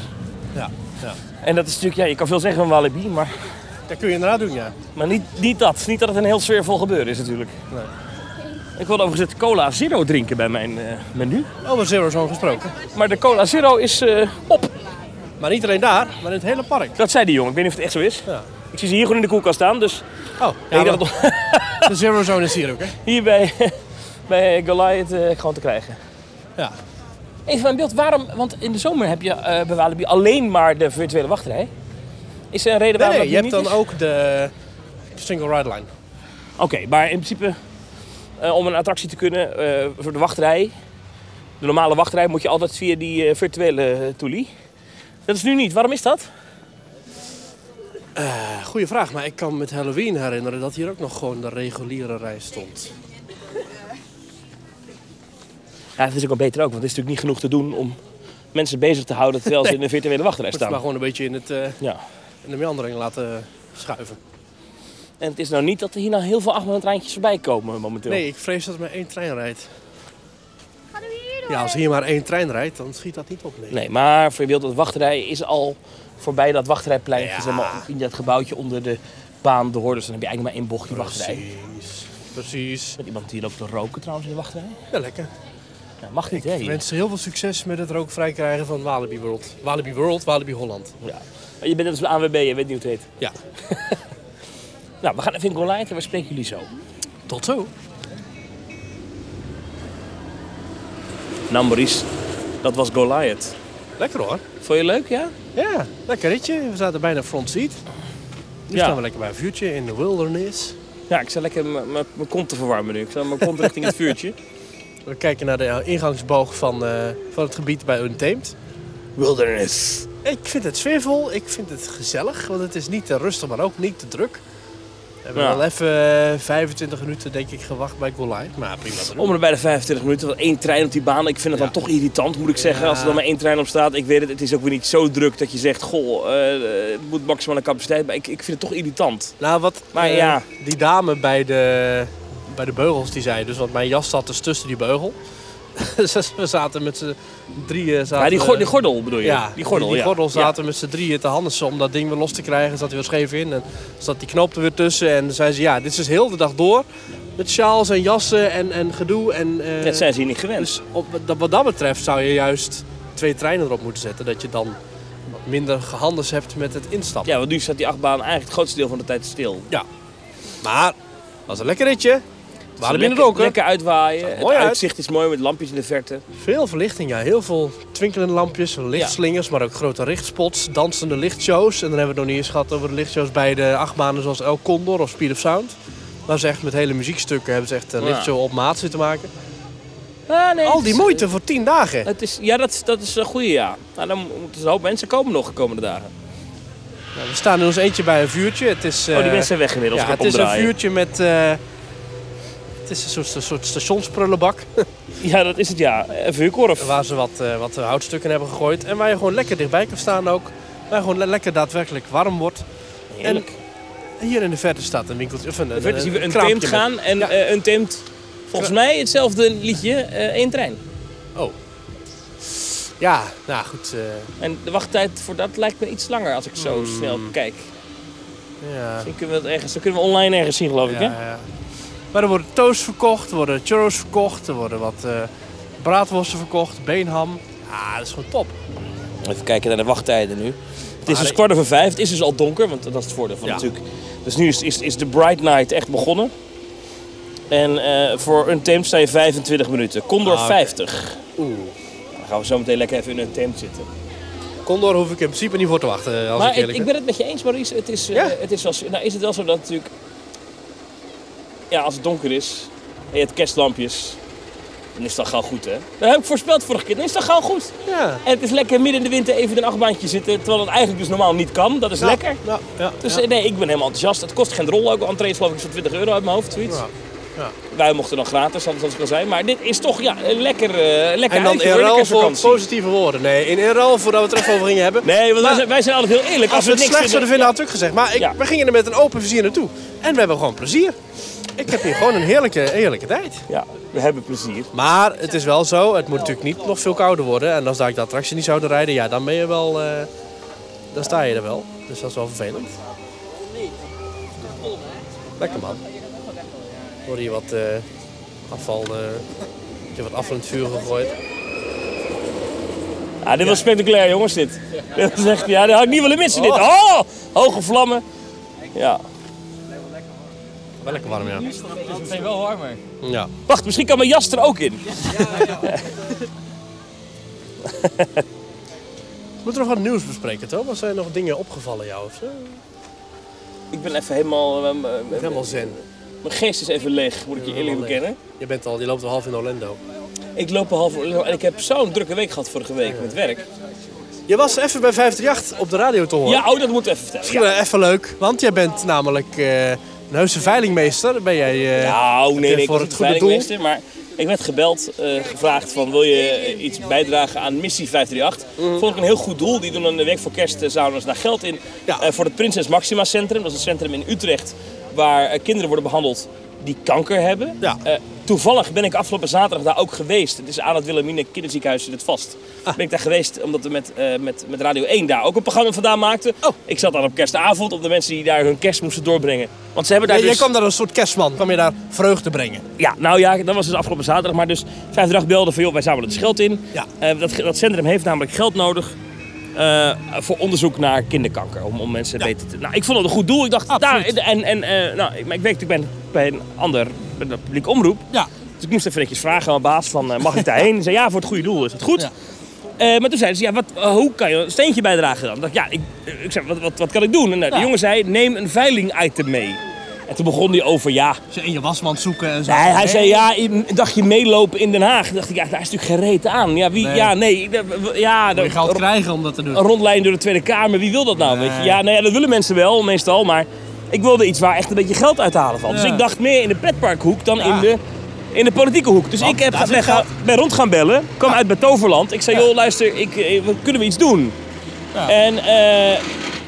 Ja, ja. En dat is natuurlijk, ja, je kan veel zeggen van Walibi, maar, Dat kun je inderdaad doen, ja. maar niet, niet dat. Niet dat het een heel sfeervol gebeuren is natuurlijk. Ik wilde overigens het cola zero drinken bij mijn eh, menu. Over Zero Zone gesproken. Maar de cola zero is eh, op. Maar niet alleen daar, maar in het hele park. Dat zei die jongen. Ik weet niet of het echt zo is. Ja. Ik zie ze hier gewoon in de koelkast staan. Dus Oh, ik ja, dacht maar dat de Zero Zone is hier ook, hè? <laughs> hier bij, bij Goliath eh, gewoon te krijgen. Ja. Even mijn beeld. Waarom? Want in de zomer heb je eh bij Walibi alleen maar de virtuele wachtrij. Is er een reden Nee, waarom nee, je dat hebt nu dan niet is? ook de single ride line. Oké, maar in principe eh, om een attractie te kunnen eh, voor de wachtrij, de normale wachtrij, moet je altijd via die eh, virtuele eh, toelie. Dat is nu niet. Waarom is dat? Goeie vraag, maar ik kan me met Halloween herinneren dat hier ook nog gewoon de reguliere rij stond. Ja, dat is ook wel beter ook, want het is natuurlijk niet genoeg te doen om mensen bezig te houden terwijl ze in de virtuele wachtrij Moet je maar staan. gewoon een beetje in, het, eh, Ja. in de meandering laten schuiven. En het is nou niet dat er hier nou heel veel achtbaantreintjes voorbij komen momenteel. Nee, ik vrees dat er maar één trein rijdt. Ja, als hier maar één trein rijdt, dan schiet dat niet op. Nee. Nee, maar voor je beeld, dat wachtrij is al voorbij dat wachtrijplein. Ja. Zeg maar, in dat gebouwtje onder de baan, de hoorders. Dan heb je eigenlijk maar één bocht die wachtrij. Precies. Precies. Met iemand die loopt te roken trouwens in de wachtrij. Ja, lekker. Ja, mag niet, hè? hier? Mensen, heel veel succes met het rookvrij krijgen van Walibi World. Walibi World, Walibi Holland. Ja. Maar Je bent net als de ANWB, je weet niet hoe het heet. Ja, Nou, we gaan even in Goliath en we spreken jullie zo. tot zo. Nou Maurice, dat was Goliath. Lekker hoor. Vond je het leuk, ja? Ja, lekker ritje. We zaten bijna front seat. Nu Ja. staan we lekker bij een vuurtje in de wilderness. Ja, ik zal lekker m- m- mijn kont te verwarmen nu. Ik zal mijn kont richting het vuurtje. We kijken naar de ingangsboog van, eh, van het gebied bij Untamed. Wilderness. Ik vind het sfeervol, ik vind het gezellig, want het is niet te rustig, maar ook niet te druk. We hebben Ja. wel even eh, 25 minuten, denk ik, gewacht bij Goliath. Maar prima te doen. Om en bij de 25 minuten, want één trein op die baan. Ik vind het Ja. dan toch irritant, moet ik zeggen. Als er dan maar één trein op staat. Ik weet het, het is ook weer niet zo druk dat je zegt... Goh, eh, het moet maximale capaciteit. Maar ik, ik vind het toch irritant. Nou, wat Maar eh, ja. die dame bij de, bij de beugels die zei, dus want mijn jas zat dus tussen die beugel. <laughs> dus we zaten met z'n drieën... Zaten, Maar die, go- die gordel bedoel je? eh, Ja, die gordel, die, ja. gordel zaten met z'n drieën te handen om dat ding weer los te krijgen. Zat hij weer scheef in en zat die knoop er weer tussen. En zei ze, ja, dit is heel de dag door. Met sjaals en jassen en, en gedoe. En, eh, Ja. Dat zijn ze hier niet gewend. dus op, dat, wat dat betreft zou je juist twee treinen erop moeten zetten. Dat je dan wat minder gehandels hebt met het instappen. Ja, want nu staat die achtbaan eigenlijk het grootste deel van de tijd stil. Maar, was een lekker ritje. We waren binnen lekker, het donker. lekker uitwaaien. Het mooi uit. uitzicht is mooi met lampjes in de verte. Veel verlichting, ja. Heel veel twinkelende lampjes, lichtslingers, maar ook grote richtspots, dansende lichtshows. En dan hebben we het nog niet eens gehad over de lichtshows bij de achtbanen zoals El Condor of Speed of Sound. Waar ze echt met hele muziekstukken hebben ze echt een Ja. lichtshow op maat zitten maken. Ah, nee, Al het die is- moeite voor tien dagen. Het is, ja, dat, is- dat is een goede ja. Nou, dan moeten er een hoop mensen komen nog de komende dagen. Nou, we staan in ons eentje bij een vuurtje. Het is, Oh, die eh, mensen zijn weg inmiddels. ja, ik heb het is een omdraaien. vuurtje met... eh, het is een soort, een soort stationsprullenbak. Ja, dat is het ja. Een vuurkorf. Waar ze wat, eh, wat houtstukken hebben gegooid. En waar je gewoon lekker dichtbij kan staan ook. Waar gewoon le- lekker daadwerkelijk warm wordt. Heerlijk. Hier in de verte staat een winkeltje. Of een, Dan verder zien we een Eh, kraampje teemt met- gaan en Ja. eh, een teemt volgens mij hetzelfde liedje, eh één trein. Ja, nou goed. eh, En de wachttijd voor dat lijkt me iets langer als ik zo Hmm. snel kijk. ja, Dan kunnen we het ergens, dan kunnen we online ergens zien geloof ik hè? ja, ja. Maar er worden toast verkocht, er worden churros verkocht, er worden wat eh braadworsten verkocht, beenham. Ja, dat is gewoon top. Even kijken naar de wachttijden nu. Het is Ah, dus nee. kwart over vijf, het is dus al donker, want dat is het voordeel van Ja. natuurlijk. Dus nu is, is, is de Bright Night echt begonnen. En eh, voor een teemt sta je 25 minuten, Condor Ah, oké. 50. Oeh. Dan gaan we zo meteen lekker even in een teemt zitten. Condor hoef ik in principe niet voor te wachten, eh, als ik Maar ik, eerlijk ik ben het met je eens, Maurice. Het is, eh, Ja? het is, wel, zo- nou, is het wel zo dat natuurlijk... Ja, als het donker is en je hebt kerstlampjes... Dan is dat gauw goed, hè? Dat heb ik voorspeld vorige keer. Dan is dat gauw goed. Ja. En het is lekker midden in de winter even in een achtbaantje zitten. Terwijl dat eigenlijk dus normaal niet kan. Dat is lekker. Ja, Nou, ja, Dus ja. eh, nee, ik ben helemaal enthousiast. Het kost geen rol ook. Entree is geloof ik zo'n 20 euro uit mijn hoofd, zoiets. Ja, ja. Wij mochten dan gratis, anders als ik al zei. Maar dit is toch ja, een lekker, eh lekker En dan uitje, in hoor, ruil lekker voor vakantie. positieve woorden. Nee, in, in ruil voor dat we het er even over gingen hebben. Nee, want wij Maar zijn, wij zijn altijd heel eerlijk. als we het niks slecht zouden vinden, had ik het ook gezegd. Maar ik, Ja. we gingen er met een open vizier naartoe. En we hebben gewoon plezier. Ik heb hier gewoon een heerlijke, heerlijke tijd. Ja, we hebben plezier. Maar het is wel zo, het moet natuurlijk niet nog veel kouder worden. En als daar ik de attractie niet zouden rijden, ja, dan ben je wel... eh, dan sta je er wel. Dus dat is wel vervelend. Lekker man. Er wordt hier wat eh, afval... eh ik heb wat afval in het vuur gegooid. Ja, Ah, dit was spectaculair, jongens, dit. <laughs> Dat is echt, ja, dat had ik niet willen missen, dit. Oh, hoge vlammen. Ja. Wel lekker warm, ja. Het zijn wel warmer. Ja. Wacht, misschien kan mijn jas er ook in. We moeten nog wat nieuws bespreken, Thomas. Zijn er nog dingen opgevallen jou of zo? Ik ben even helemaal... eh, m- m- Helemaal zen. Mijn geest is even leeg, moet ik je eerlijk Helemaal leeg. bekennen. Je, bent al, je loopt al half in Orlando. Ik loop een half uur... En ik heb zo'n drukke week gehad vorige week met werk. Je was even bij 538 op de radio te horen. Ja, oh, dat moet ik even vertellen. Misschien wel Eh, even leuk, want jij bent namelijk eh, een heuse veilingmeester. Ben jij... eh, Nou, nee, je nee, ik voor was het niet goede veilingmeester, maar ik werd gebeld, eh, gevraagd van wil je eh, iets bijdragen aan missie 538. Mhm. Vond ik een heel goed doel. Die doen dan de week voor kerst eh, zamelen ze daar geld in Ja. eh, voor het Prinses Maxima Centrum. Dat is een centrum in Utrecht waar eh, kinderen worden behandeld die kanker hebben. Ja. Eh, toevallig ben ik afgelopen zaterdag daar ook geweest. Het is aan het Wilhelmine Kinderziekenhuis in het Vast. Ah. Ben ik daar geweest omdat we met, eh, met, met Radio 1 daar ook een programma vandaan maakten. Oh. Ik zat daar op kerstavond om de mensen die daar hun kerst moesten doorbrengen. Want ze hebben daar Jij, jij dus... kwam daar als een soort kerstman. Kwam je daar vreugde brengen. Ja, nou ja, dat was dus afgelopen zaterdag. Maar dus vijf dag belde van, joh, wij zamelen het geld in. Mm. Ja. Eh, dat, dat centrum heeft namelijk geld nodig eh, voor onderzoek naar kinderkanker. Om, om mensen beter te... Nou, ik vond het een goed doel. Ik dacht, daar, Absoluut. en, en eh, nou, ik, maar ik werk natuurlijk bij een, bij een ander, bij de publieke omroep. Ja. Dus ik moest even netjes vragen aan mijn baas van, eh, mag ik daarheen? Ze zei, ja, voor het goede doel is het goed. Ja. Eh, maar toen zeiden ze, ja, wat, eh, hoe kan je een steentje bijdragen dan? Ik dacht, ja, ik, eh, ik zei, wat, wat, wat kan ik doen? En nou, de jongen zei, neem een veiling-item mee. En toen begon hij over, ja, Dus in je wasmand zoeken en zo. Nee, hij zei ja, een dagje meelopen in Den Haag. Toen dacht ik, ja, daar is natuurlijk gereed aan. Ja, wie, Nee. ja nee. dat- w- Ja, Moet je geld dat- krijgen om dat te een doen. rondleiding door de Tweede Kamer, wie wil dat nou? Weet je? Ja, nou ja, dat willen mensen wel, meestal. Maar ik wilde iets waar echt een beetje geld uit te halen van. Dus Ja. ik dacht meer in de petparkhoek dan Ja. in, de, in de politieke hoek. Dus ik heb, daar zit ben, gaan- ben rond gaan bellen, kwam uit bij Toverland. Ik zei, joh, luister, ik, eh, wat- kunnen we iets doen? En eh,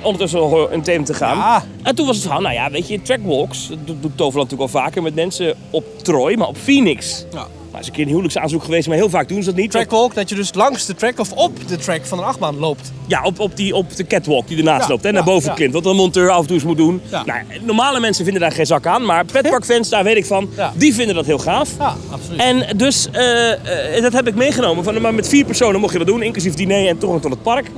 ondertussen hoor- een thema te gaan. Ja. En toen was het van, nou ja, weet je, trackwalks. Dat doet doet Toverland natuurlijk al vaker met mensen op Troy, maar op Phoenix. Ja. Nou, is een keer een huwelijksaanzoek geweest, maar heel vaak doen ze dat niet. Trackwalk, dat je dus langs de track of op de track van een achtbaan loopt. Ja, op, op, die, op de catwalk die ernaast Ja, loopt. En ja, naar boven ja. klimt. Wat een monteur af en toe eens moet doen. Ja. Nou, normale mensen vinden daar geen zak aan. Maar petparkfans, daar weet ik van. Ja. Die vinden dat heel gaaf. Ja, absoluut. En dus, eh, eh, dat heb ik meegenomen. Van, maar met vier personen mocht je dat doen. Inclusief diner en toegang tot het park.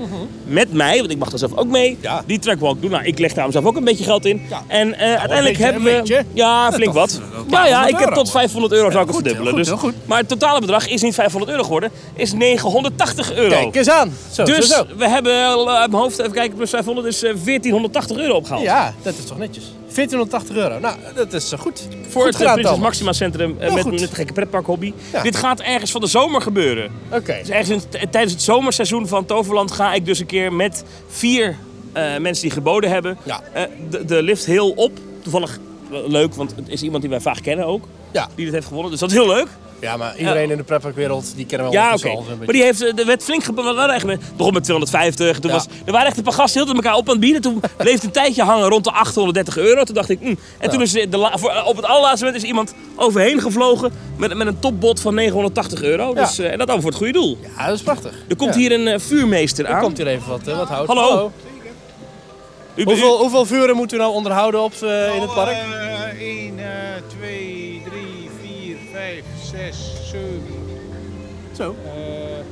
Met mij, want ik mag er zelf ook mee. Mhm. Ja. Die trackwalk doen. Nou, ik leg daar zelf ook een beetje geld in. Ja. En eh, uiteindelijk beetje, hebben een we... beetje. Ja, Ja, flink toch, wat. eh, wel Nou ja, 500 ik heb euro. tot 500 euro zou ik goed, het verdubbelen. heel goed, dus, heel goed. Maar het totale bedrag is niet 500 euro geworden. Is 980 euro. Kijk eens aan. Zo, Dus Oh, zo, zo. we hebben eh, uit mijn hoofd, even kijken, plus 500 is eh, 1480 euro opgehaald. Ja, dat is toch netjes. 1480 euro. Nou, dat is eh, goed. Voor goed het eh, gedaan, Prinses Thomas. Maxima Centrum eh, Heel met goed. met het gekke pretparkhobby. Ja. Dit gaat ergens van de zomer gebeuren. Oké. Dus ergens in, t- tijdens het zomerseizoen van Toverland ga ik dus een keer met vier eh, mensen die geboden hebben Ja. eh, de, de lift heel op. Toevallig eh, leuk, want het is iemand die wij vaak kennen ook. Ja. Die dit heeft gewonnen, dus dat is heel leuk. ja, maar iedereen in de pretparkwereld, die kennen wel Ja, oké. ondertussen al zo'n Maar beetje. die heeft, eh, er werd flink gebe- we waren echt met- begon met 250. Toen Ja. was, er waren echt een paar gasten heel met elkaar op aan het bieden. Toen bleef het een tijdje hangen rond de 830 euro. Toen dacht ik, mm. En toen is de la- voor- eh, op het allerlaatste moment is iemand overheen gevlogen met, met een topbod van 980 euro. Ja. Dus, eh, en dat dan voor het goede doel. Ja, dat is prachtig. Er komt Ja. hier een eh, vuurmeester aan. Er komt hier even wat, eh, wat hout. Hallo. U- u- Hoeveel, hoeveel vuren moet u nou onderhouden op, eh, in het park? 1, 2, 3, 4, 5, 6, 7, Zo.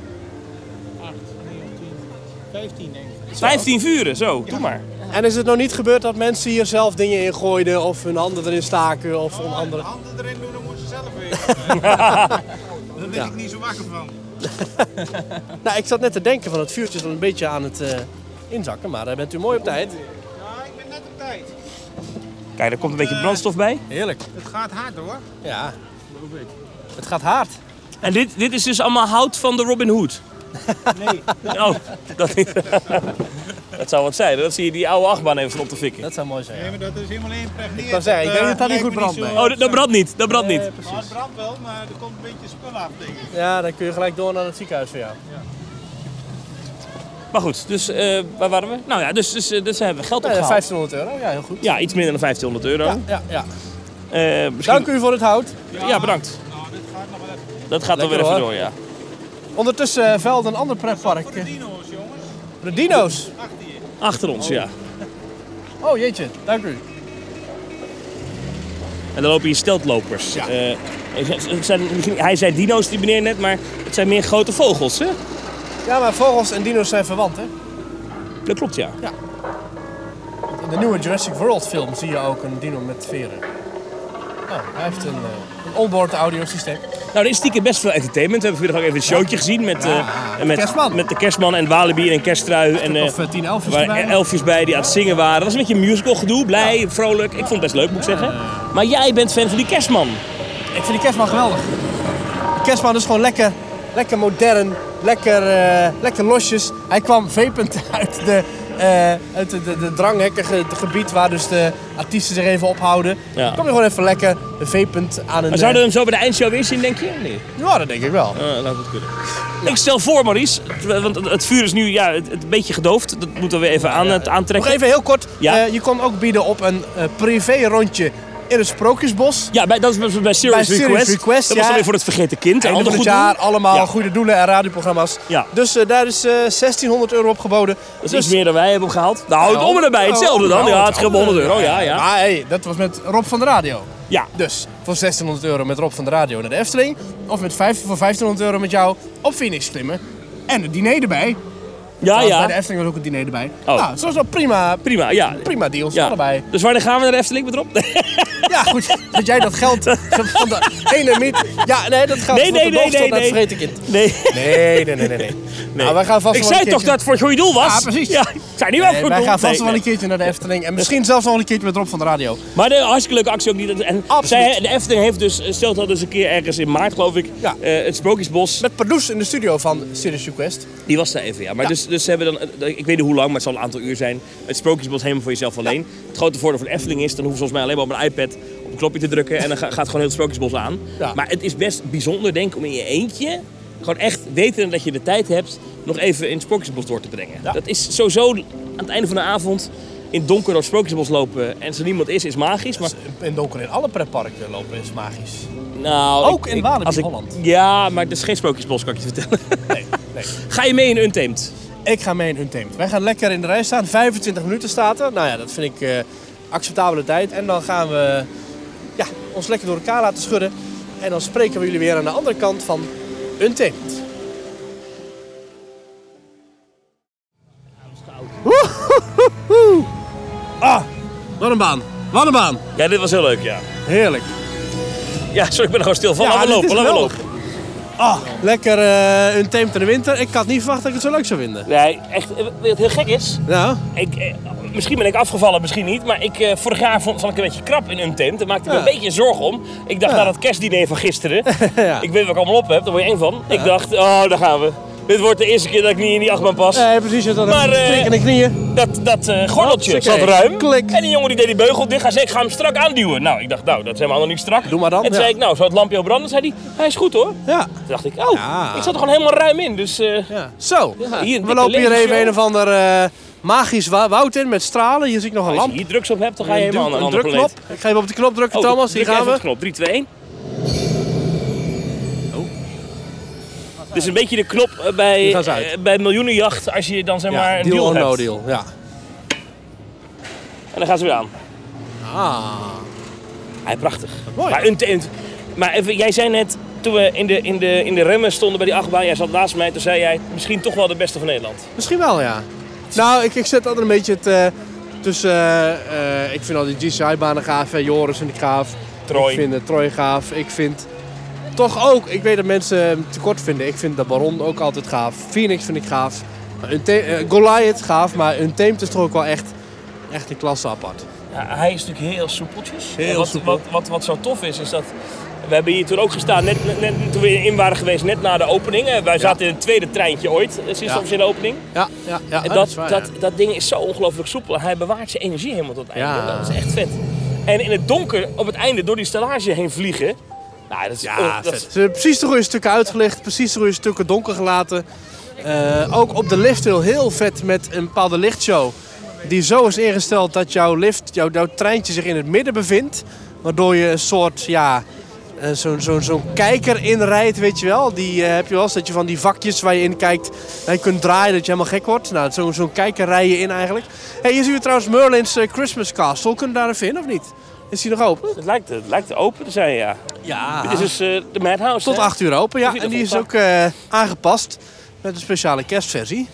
8, 9, 10, 15 denk ik. 15 vuren, zo, doe maar. En is het nog niet gebeurd dat mensen hier zelf dingen in gooiden of hun handen erin staken of een andere... Handen erin doen, dan moeten ze zelf weer. Daar ben ik niet zo wakker van. Nou, ik zat net te denken van het vuurtje is al een beetje aan het eh, inzakken, maar daar bent u mooi op tijd. Ja, ik ben net op tijd. Kijk, er komt een beetje brandstof bij. Heerlijk. Het gaat hard hoor. Ja. Het gaat hard. En dit, dit is dus allemaal hout van de Robin Hood? Nee. Oh, <laughs> dat niet. Dat zou wat zijn. Dat zie je die oude achtbaan even op te fikken. Dat zou mooi zijn. Nee, maar dat is helemaal geïmpregneerd. Ik wou zeggen, ik denk dat dat niet goed brandt, nee. Oh, dat, dat brandt niet. Dat brandt niet. Maar Nou, het brandt wel, maar er komt een beetje spul af, denk ik. Ja, dan kun je gelijk door naar het ziekenhuis voor jou. Maar goed, dus eh, waar waren we? Nou ja, dus, dus, eh, dus hebben we geld Nou, ja, opgehaald. 1500 euro, ja, heel goed. Ja, iets minder dan 1500 euro. Ja, ja, ja. Eh, misschien... Dank u voor het hout. Ja, bedankt. Nou, dit gaat nog wel even Dat gaat dan Lekker weer even hoor. door, ja. Ondertussen eh, veld een ander pretpark. voor de dino's, jongens. De dino's. Achter je. Achter ons, ja. Oh jeetje, dank u. En dan lopen hier steltlopers. Ja. Eh, het zijn, hij zei dino's, die meneer net, maar het zijn meer grote vogels, hè? Ja, maar vogels en dino's zijn verwant, hè? Dat klopt, ja. In de nieuwe Jurassic World film zie je ook een dino met veren. Nou, hij heeft een, eh, een onboard audiosysteem. Nou, er is stiekem best veel entertainment. We hebben vanmiddag ook even een showtje gezien met, eh, met, kerstman. met de kerstman en Walibi en een kersttrui. En, eh, Of eh, tien elfjes er waren erbij. elfjes bij die aan het zingen waren. Dat was een beetje een musical gedoe. Blij, vrolijk. Ik vond het best leuk, moet ik zeggen. Maar jij bent fan van die kerstman. Ik vind die kerstman geweldig. De kerstman is gewoon lekker, lekker modern, lekker, eh, lekker losjes. Hij kwam vepend <laughs> uit de, eh, uit de, de, de dranghekkige gebied waar dus de artiesten zich even ophouden. Ja. Kom je gewoon even lekker vepend aan een... Maar zouden we hem zo bij de eindshow weer zien, denk je? Nee. eh, Ja, dat denk ik wel. Eh, laat het kunnen. Ik stel voor, Maurice, t- want het- het vuur is nu ja, het, het een beetje gedoofd. Dat moeten we even aan, het Nog aantrekken. even heel kort. Ja. eh, je kon ook bieden op een eh, privé rondje in het Sprookjesbos. Ja, bij, dat was bij Serious, Serious Request. Request, Dat was ja. alweer voor het vergeten kind. Einde Allemaal van het goed jaar, doen. allemaal Ja. goede doelen en radioprogramma's. Ja. Dus eh, daar is eh 1600 euro op geboden. Dus- Dat is iets meer dan wij hebben opgehaald. Nou, het om en oh, erbij, hetzelfde nou, dan. Ja, Nou, het scheelt me 100 euro, ja, ja. Maar hey, dat was met Rob van de Radio. Ja, Dus voor 1600 euro met Rob van de Radio naar de Efteling. Of met vijf, voor 1500 euro met jou op Phoenix klimmen. En het diner erbij. Ah, ja, Want Bij de ja. Efteling was ook het diner erbij. Oh. Nou, het was wel prima, Prima, ja. prima deals, ja. allebei. Dus wanneer gaan we naar de Efteling met Rob? Ja, goed, <laughs> dat jij dat <laughs> geld van de ene miet... Ja, nee, dat gaat Nee, van nee, de nee, doofstot nee, naar het nee. vergeten kind. <laughs> Nee. Nee, nee, nee, nee. <laughs> nee. Nou, wij gaan vast Ik wel zei een toch keertje- dat het voor het goede doel was? Ja, precies. Ja, ik zei Nee, niet wel voor het wij goede gaan doel. vast Nee, wel nee. een keertje naar de Efteling. En misschien zelfs nog wel een keertje met Rob van de Radio. Maar een hartstikke leuke actie ook. niet. En Absoluut. zij- de Efteling heeft dus, stelt dat dus een keer ergens in maart, geloof ik, Ja. eh, het Sprookjesbos. Met Pardoes in de studio van Serious Request. Die was daar even, ja. Maar Dus, dus ze hebben dan, eh, ik weet niet hoe lang, maar het zal een aantal uur zijn. Het Sprookjesbos helemaal voor jezelf alleen. Het grote voordeel van de Efteling is, dan hoef je volgens mij alleen maar op een iPad op een knopje te drukken en dan ga- gaat gewoon heel het Sprookjesbos aan. Ja. Maar het is best bijzonder, denk ik, om in je eentje, gewoon echt weten dat je de tijd hebt, nog even in het Sprookjesbos door te brengen. Dat is sowieso aan het einde van de avond in het donker door het Sprookjesbos lopen en als er niemand is, is magisch. Maar In donker in alle pretparken lopen is magisch. nou, Ook in Walibi, als ik- Holland. Ja, maar het is geen Sprookjesbos, kan ik je vertellen. Nee, nee. <laughs> Ga je mee in Untamed? Ik ga mee in Untamed. Wij gaan lekker in de rij staan. 25 minuten staat er. Nou ja, dat vind ik eh, acceptabele tijd. En dan gaan we ja, ons lekker door elkaar laten schudden. En dan spreken we jullie weer aan de andere kant van Untamed. Woehoehoe. Ah, wat een baan. Wat een baan. Ja, dit was heel leuk, ja. Heerlijk. Ja, sorry, ik ben er gewoon stil van. Ja, laten we dit is lopen, laten we geweldig. lopen. Ah, lekker eh Untamed in de winter. Ik had niet verwacht dat ik het zo leuk zou vinden. Nee, echt, eh, weet je wat heel gek is? Nou, Ik, eh, misschien ben ik afgevallen, misschien niet. Maar ik, eh, vorig jaar vond, vond ik een beetje krap in Untamed. Daar maakte ik Ja. me een beetje zorgen om. Ik dacht, na dat kerstdiner van gisteren. <laughs> Ja. Ik weet wat ik allemaal op heb, daar word je eng van. Ik dacht, oh, daar gaan we. Dit wordt de eerste keer dat ik niet in die achtbaan pas. nee, precies. Je had Maar, een eh, strik in de knieën. Dat, dat eh, gordeltje Hartstikke. zat ruim. Klik. En die jongen die deed die beugel dicht. Hij zei, ik ga hem strak aanduwen. Nou, ik dacht, nou, dat is helemaal nog niet strak. Doe maar dan, En toen ja. zei ik, nou, zou het lampje al branden? zei hij, hij is goed hoor. Ja. Toen dacht ik, oh, Ja. ik zat er gewoon helemaal ruim in. Dus eh, Ja. Zo, Ja, hier een we dikke lopen hier even lasershow. een of ander eh, magisch wa- woud in met stralen. Hier zie ik nog een als je lamp. hier drugs op hebt, dan ga je helemaal naar een een andere planeet. Oh, drukknop. Ik ga even op de knop drukken, Thomas. Hier druk gaan even we. op de knop. 3, 2, 1. Dit is een beetje de knop eh, bij, Oh. Die gaan ze uit. eh, bij miljoenenjacht als je dan zeg maar Ja, een deal, deal or hebt. no deal. Ja. En dan gaan ze weer aan. Ah. Hij prachtig. Mooi. Maar, een tent. maar even, jij zei net, toen we in de, in, de, in de remmen stonden bij die achtbaan, jij zat naast mij, toen zei jij misschien toch wel de beste van Nederland. Misschien wel, ja. Nou, ik, ik zet altijd een beetje het... eh, tussen, eh, eh, ik vind al die GCI-banen gaaf, hè. Joris en ik gaaf. Troy. Ik vind eh, Troy gaaf. Ik vind toch ook, ik weet dat mensen hem tekort vinden. Ik vind de Baron ook altijd gaaf. Phoenix vind ik gaaf. Maar Unta- eh, Goliath gaaf, maar Untamed is toch ook wel echt, echt een klasse apart. Ja, hij is natuurlijk heel soepeltjes. Heel En wat, soepel. Wat, wat, wat zo tof is, is dat eh, We hebben hier toen ook gestaan, net, net- net toen we in waren geweest, net na de opening. Eh, Wij zaten in het tweede treintje ooit, eh, sinds de Ja. officiële opening. Ja, ja, ja. En dat dat, is waar, dat, ja. dat ding is zo ongelooflijk soepel. Hij bewaart zijn energie helemaal tot het einde. Ja. Dat is echt vet. En in het donker, op het einde, door die stellage heen vliegen. Nou, dat is, Ja, oh, dat is- vet. Eh, Ze hebben precies de goede stukken uitgelegd, precies de goede stukken donker gelaten. Eh, ook op de lift heel, heel vet met een bepaalde lichtshow. Die zo is ingesteld dat jouw lift, jouw, jouw treintje zich in het midden bevindt. Waardoor je een soort, ja, eh, zo'n zo'n zo'n kijker inrijdt, weet je wel. Die eh, heb je wel eens, dat je van die vakjes waar je in kijkt, dat je kunt draaien, dat je helemaal gek wordt. Nou, zo'n zo'n kijker rij je in eigenlijk. hey, hier zien we trouwens Merlin's eh, Christmas Castle. Kunnen we daar even in of niet? Is die nog open? het, lijkt, het lijkt open te zijn, ja. Ja. Ah. Dit is dus eh, de Madhouse. Tot hè? 8 uur open, ja. Zie je En dat die is ook volpak? eh, aangepast met een speciale kerstversie.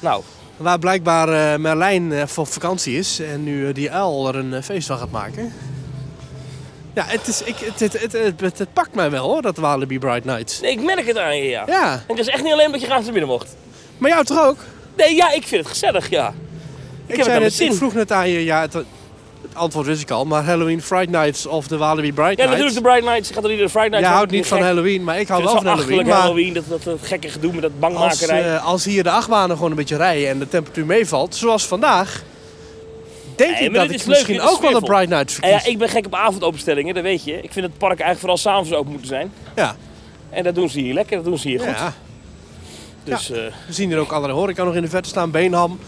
Nou, Waar blijkbaar eh, Merlijn eh, voor vakantie is en nu eh, die uil er een eh, feest van gaat maken. Ja, het, is, ik, het, het, het, het, het- het pakt mij wel hoor, dat Walibi Bright Nights. nee, ik merk het aan je, ja. Ja, En het is echt niet alleen dat je graag naar binnen mocht. maar jou toch ook? Nee, ja, ik vind het gezellig, ja. Ik, heb het zei aan net, mijn ik zin. vroeg net aan je, ja, het, het antwoord wist ik al, maar Halloween Fright Nights of de Walibi Bright Ja, Nights. natuurlijk de Bright Nights. Je gaat er niet naar de Friday Nights. Jij want houdt ik niet vind van het gek. Halloween, maar ik hou Ik vind wel het van zo achterlijk Halloween. Maar Halloween, dat, dat, dat gekke gedoe met dat als, bangmakerij. eh, als hier de achtbanen gewoon een beetje rijden en de temperatuur meevalt, zoals vandaag, denk Nee, ik maar dat dit ik is leuk, misschien dit is ook wel een sfeervol. Bright Night En verkies. ja, ik ben gek op avondopenstellingen, dat weet je. Ik vind dat het park eigenlijk vooral s'avonds open moeten zijn. Ja. En dat doen ze hier lekker, dat doen ze hier goed. Ja, Dus eh we zien hier ook andere horeca nog in de verte staan. Beenham,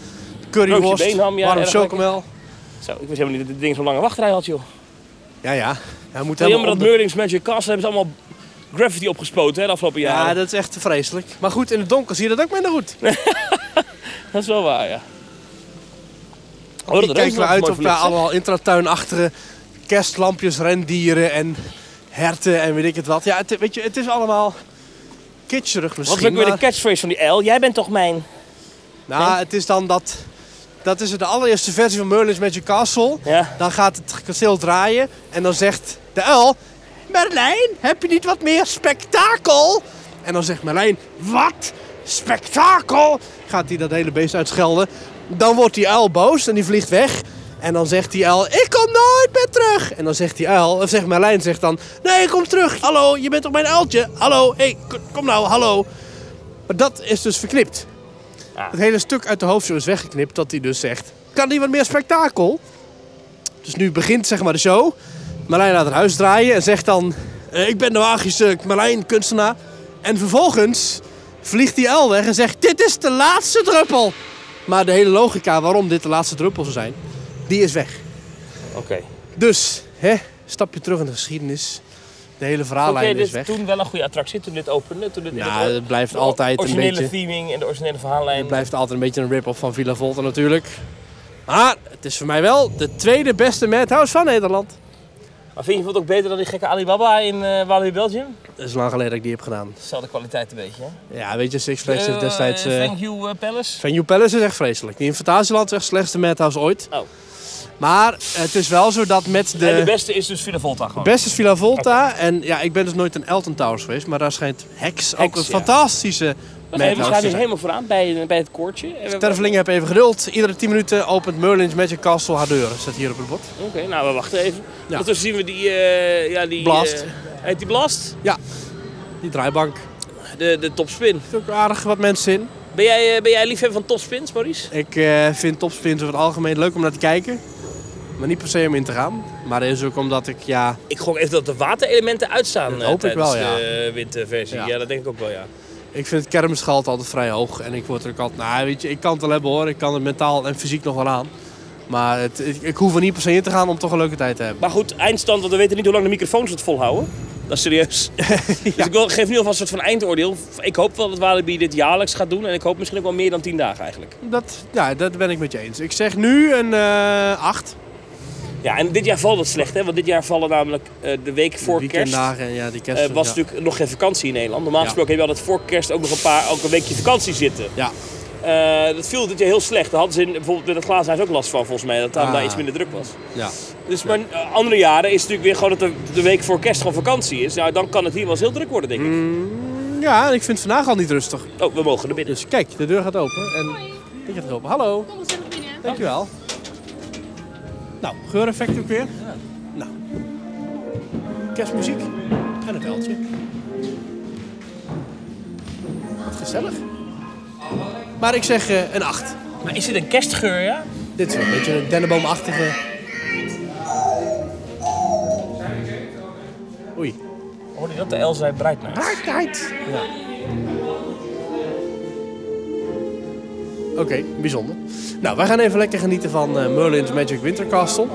curryworst, Broodje beenham, ja, warm erg chocomel. zo, ik wist helemaal niet dat dit ding zo'n lange wachtrij had, joh. Ja, ja. Hij moet Helemaal helemaal dat onder... Merling's Magic Castle hebben ze allemaal graffiti opgespoten hè, de afgelopen jaren. Ja, dat... dat is echt vreselijk. Maar goed, in het donker zie je dat ook minder goed. is wel waar, ja. Oh, Hier dat kijken we reuzenrad is uit mooi op daar verlicht, allemaal intratuinachtige kerstlampjes, rendieren en herten en weet ik het wat. Ja, het, weet je, het is allemaal kitscherig zeg. Wat misschien. vind ik weer maar- de catchphrase van die L? Jij bent toch mijn... Nou, het is dan dat. Dat is de allereerste versie van Merlin's Magic Castle. Ja. Dan gaat het kasteel draaien en dan zegt de uil... Merlijn, heb je niet wat meer spektakel? En dan zegt Merlijn, wat? Spektakel? Gaat hij dat hele beest uitschelden. Dan wordt die uil boos en die vliegt weg. En dan zegt die uil, ik kom nooit meer terug. En dan zegt die uil, of zegt Merlijn, zegt dan... Nee, ik kom terug. Hallo, je bent toch mijn uiltje? Hallo, hé, hey, kom nou, hallo. Maar dat is dus verknipt. Het hele stuk uit de hoofdshow is weggeknipt dat hij dus zegt... Kan er wat meer spektakel? Dus nu begint zeg maar de show. Marlijn laat het huis draaien en zegt dan... eh, ik ben de magische Marlijn, kunstenaar. En vervolgens vliegt die uil weg en zegt... Dit is de laatste druppel! Maar de hele logica waarom dit de laatste druppel zou zijn... die is weg. Oké. Dus, hè, stapje terug in de geschiedenis. De hele Oké, verhaallijn dit is weg. toen wel een goede attractie, toen dit opende. Toen dit in Ja, het blijft de altijd een originele beetje... theming en de originele verhaallijn. Het blijft altijd een beetje een rip-off van Villa Volta natuurlijk. Maar het is voor mij wel de tweede beste madhouse van Nederland. Maar vind je het ook beter dan die gekke Alibaba in eh Walibi Belgium? Dat is lang geleden dat ik die heb gedaan. Dezelfde kwaliteit een beetje, hè? Ja, weet je, Six Flags heeft Eh, destijds... eh, Thank you eh, Palace. Venue Palace is echt vreselijk. Die in Fantasieland is echt de slechtste madhouse ooit. Oh. Maar het is wel zo dat met de... En de beste is dus Villa Volta gewoon. Best is Villa Volta. En ja, ik ben dus nooit in Elton Towers geweest. Maar daar schijnt Hex, ook Hex, een ja. fantastische Nee, we madhouse te staan dus zijn. helemaal vooraan bij, bij het koortje. En we- Tervelingen heb even geduld. Iedere 10 minuten opent Merlin's Magic Castle haar deuren. Staat hier op het bord. Oké, nou we wachten even. Ja. Ondertussen zien we die... eh, ja, die Blast. eh, heet die Blast? Die draaibank. De, de topspin. Er zitten ook aardig wat mensen in. Ben jij, eh, ben jij liefhebber van topspins, Maurice? Ik eh, vind topspins over het algemeen leuk om naar te kijken. Maar niet per se om in te gaan. Maar dat is ook omdat ik, ja... Ik gok even dat de waterelementen uitstaan Dat eh, hoop ik tijdens wel, ja. de winterversie. Ja. Ja. dat denk ik ook wel, ja. Ik vind het kermisgehalte altijd vrij hoog. En ik word er ook altijd... Nou, weet je, ik kan het wel hebben hoor. Ik kan het mentaal en fysiek nog wel aan. Maar het, ik, ik hoef er niet per se in te gaan om toch een leuke tijd te hebben. Maar goed, eindstand, want we weten niet hoe lang de microfoons het volhouden. Dat is <laughs> serieus. Dus ik wil- geef nu alvast een soort van eindoordeel. Ik hoop wel dat Walibi dit jaarlijks gaat doen. En ik hoop misschien ook wel meer dan 10 dagen eigenlijk. Dat, ja, dat ben ik met je eens. Ik zeg nu een eh 8. Ja, en dit jaar valt het slecht, hè? Want dit jaar vallen namelijk eh, de week voor kerst. eh, Weekenddagen en ja, die kerst. was ja. natuurlijk nog geen vakantie in Nederland. Normaal Ja. gesproken heb je altijd voor kerst ook nog een paar, ook een weekje vakantie zitten. Ja. Eh, dat viel dit jaar heel slecht. Daar hadden ze in, bijvoorbeeld in het glazen huis ook last van, volgens mij. Dat daar, Ah. daar iets minder druk was. ja. Dus maar eh, andere jaren is het natuurlijk weer gewoon dat de, de week voor kerst gewoon vakantie is. Nou, dan kan het hier wel eens heel druk worden, denk ik. Mm. Ja, en ik vind het vandaag al niet rustig. Oh, we mogen er binnen. Dus kijk, de deur gaat open. En ik ga open. Hallo. Kom eens even binnen. Dankjewel. Nou, geureffect ook weer. Nou. Kerstmuziek. Gaat en een veldje. Wat gezellig. Maar ik zeg eh, een 8. Maar is dit een kerstgeur, ja? Dit is wel een beetje een dennenboomachtige... Oei. Hoorde je dat? De L zei Breitner. Hardheid. Ja. Oké, bijzonder. Nou, wij gaan even lekker genieten van eh, Merlin's Magic Winter Castle.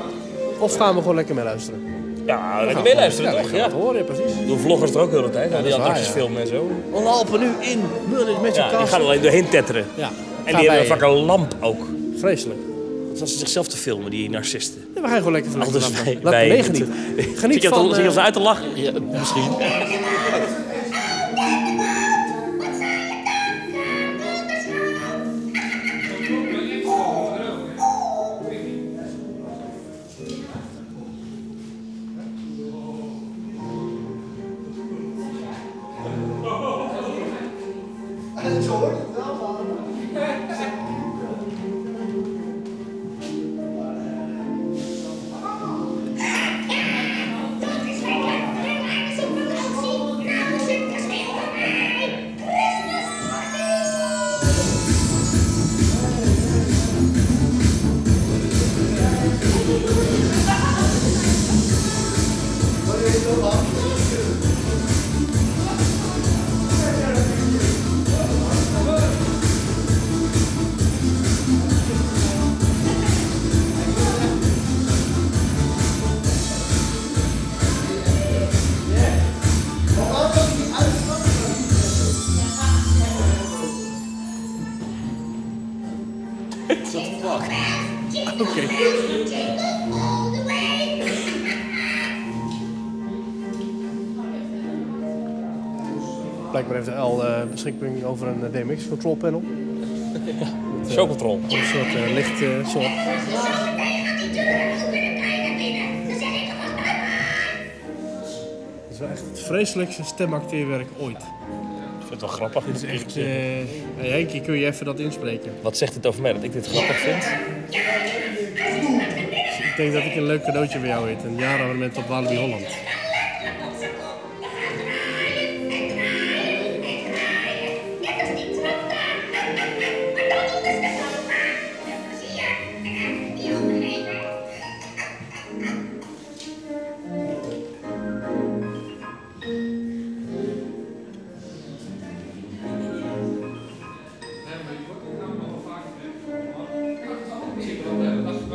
Of gaan we gewoon lekker mee luisteren? Ja, lekker meeluisteren, ja, toch? Ja, Ja. dat horen, precies. Doen vloggers er ook heel de tijd. dat die is waar, attracties ja. filmen en zo. We lopen nu in Merlin's Magic Ja, die gaan Castle. alleen doorheen tetteren. Ja, En gaan die wij, hebben een vakken lamp ook. eh, Vreselijk. Dat was ze zichzelf te filmen, die narcisten. Ja, we gaan gewoon lekker van Anders laten- bij, laten bij <laughs> meegenieten. Zie Geniet je van... dat- zie je eh, dat uit te lachen? Ja, misschien. Blijkbaar heeft al eh beschikking over een eh, DMX control panel. Show control. Een soort eh, licht... eh, soort. Dat is wel echt het vreselijkste stemacteerwerk ooit. Ik vind het wel grappig. Dit is echt... eh hey, Henkie, kun je even dat inspreken? Wat zegt het over mij dat ik dit grappig vind? Ik denk dat ik een leuk cadeautje bij jou weet. Een jaarabonnement op Walibi Holland. <laughs>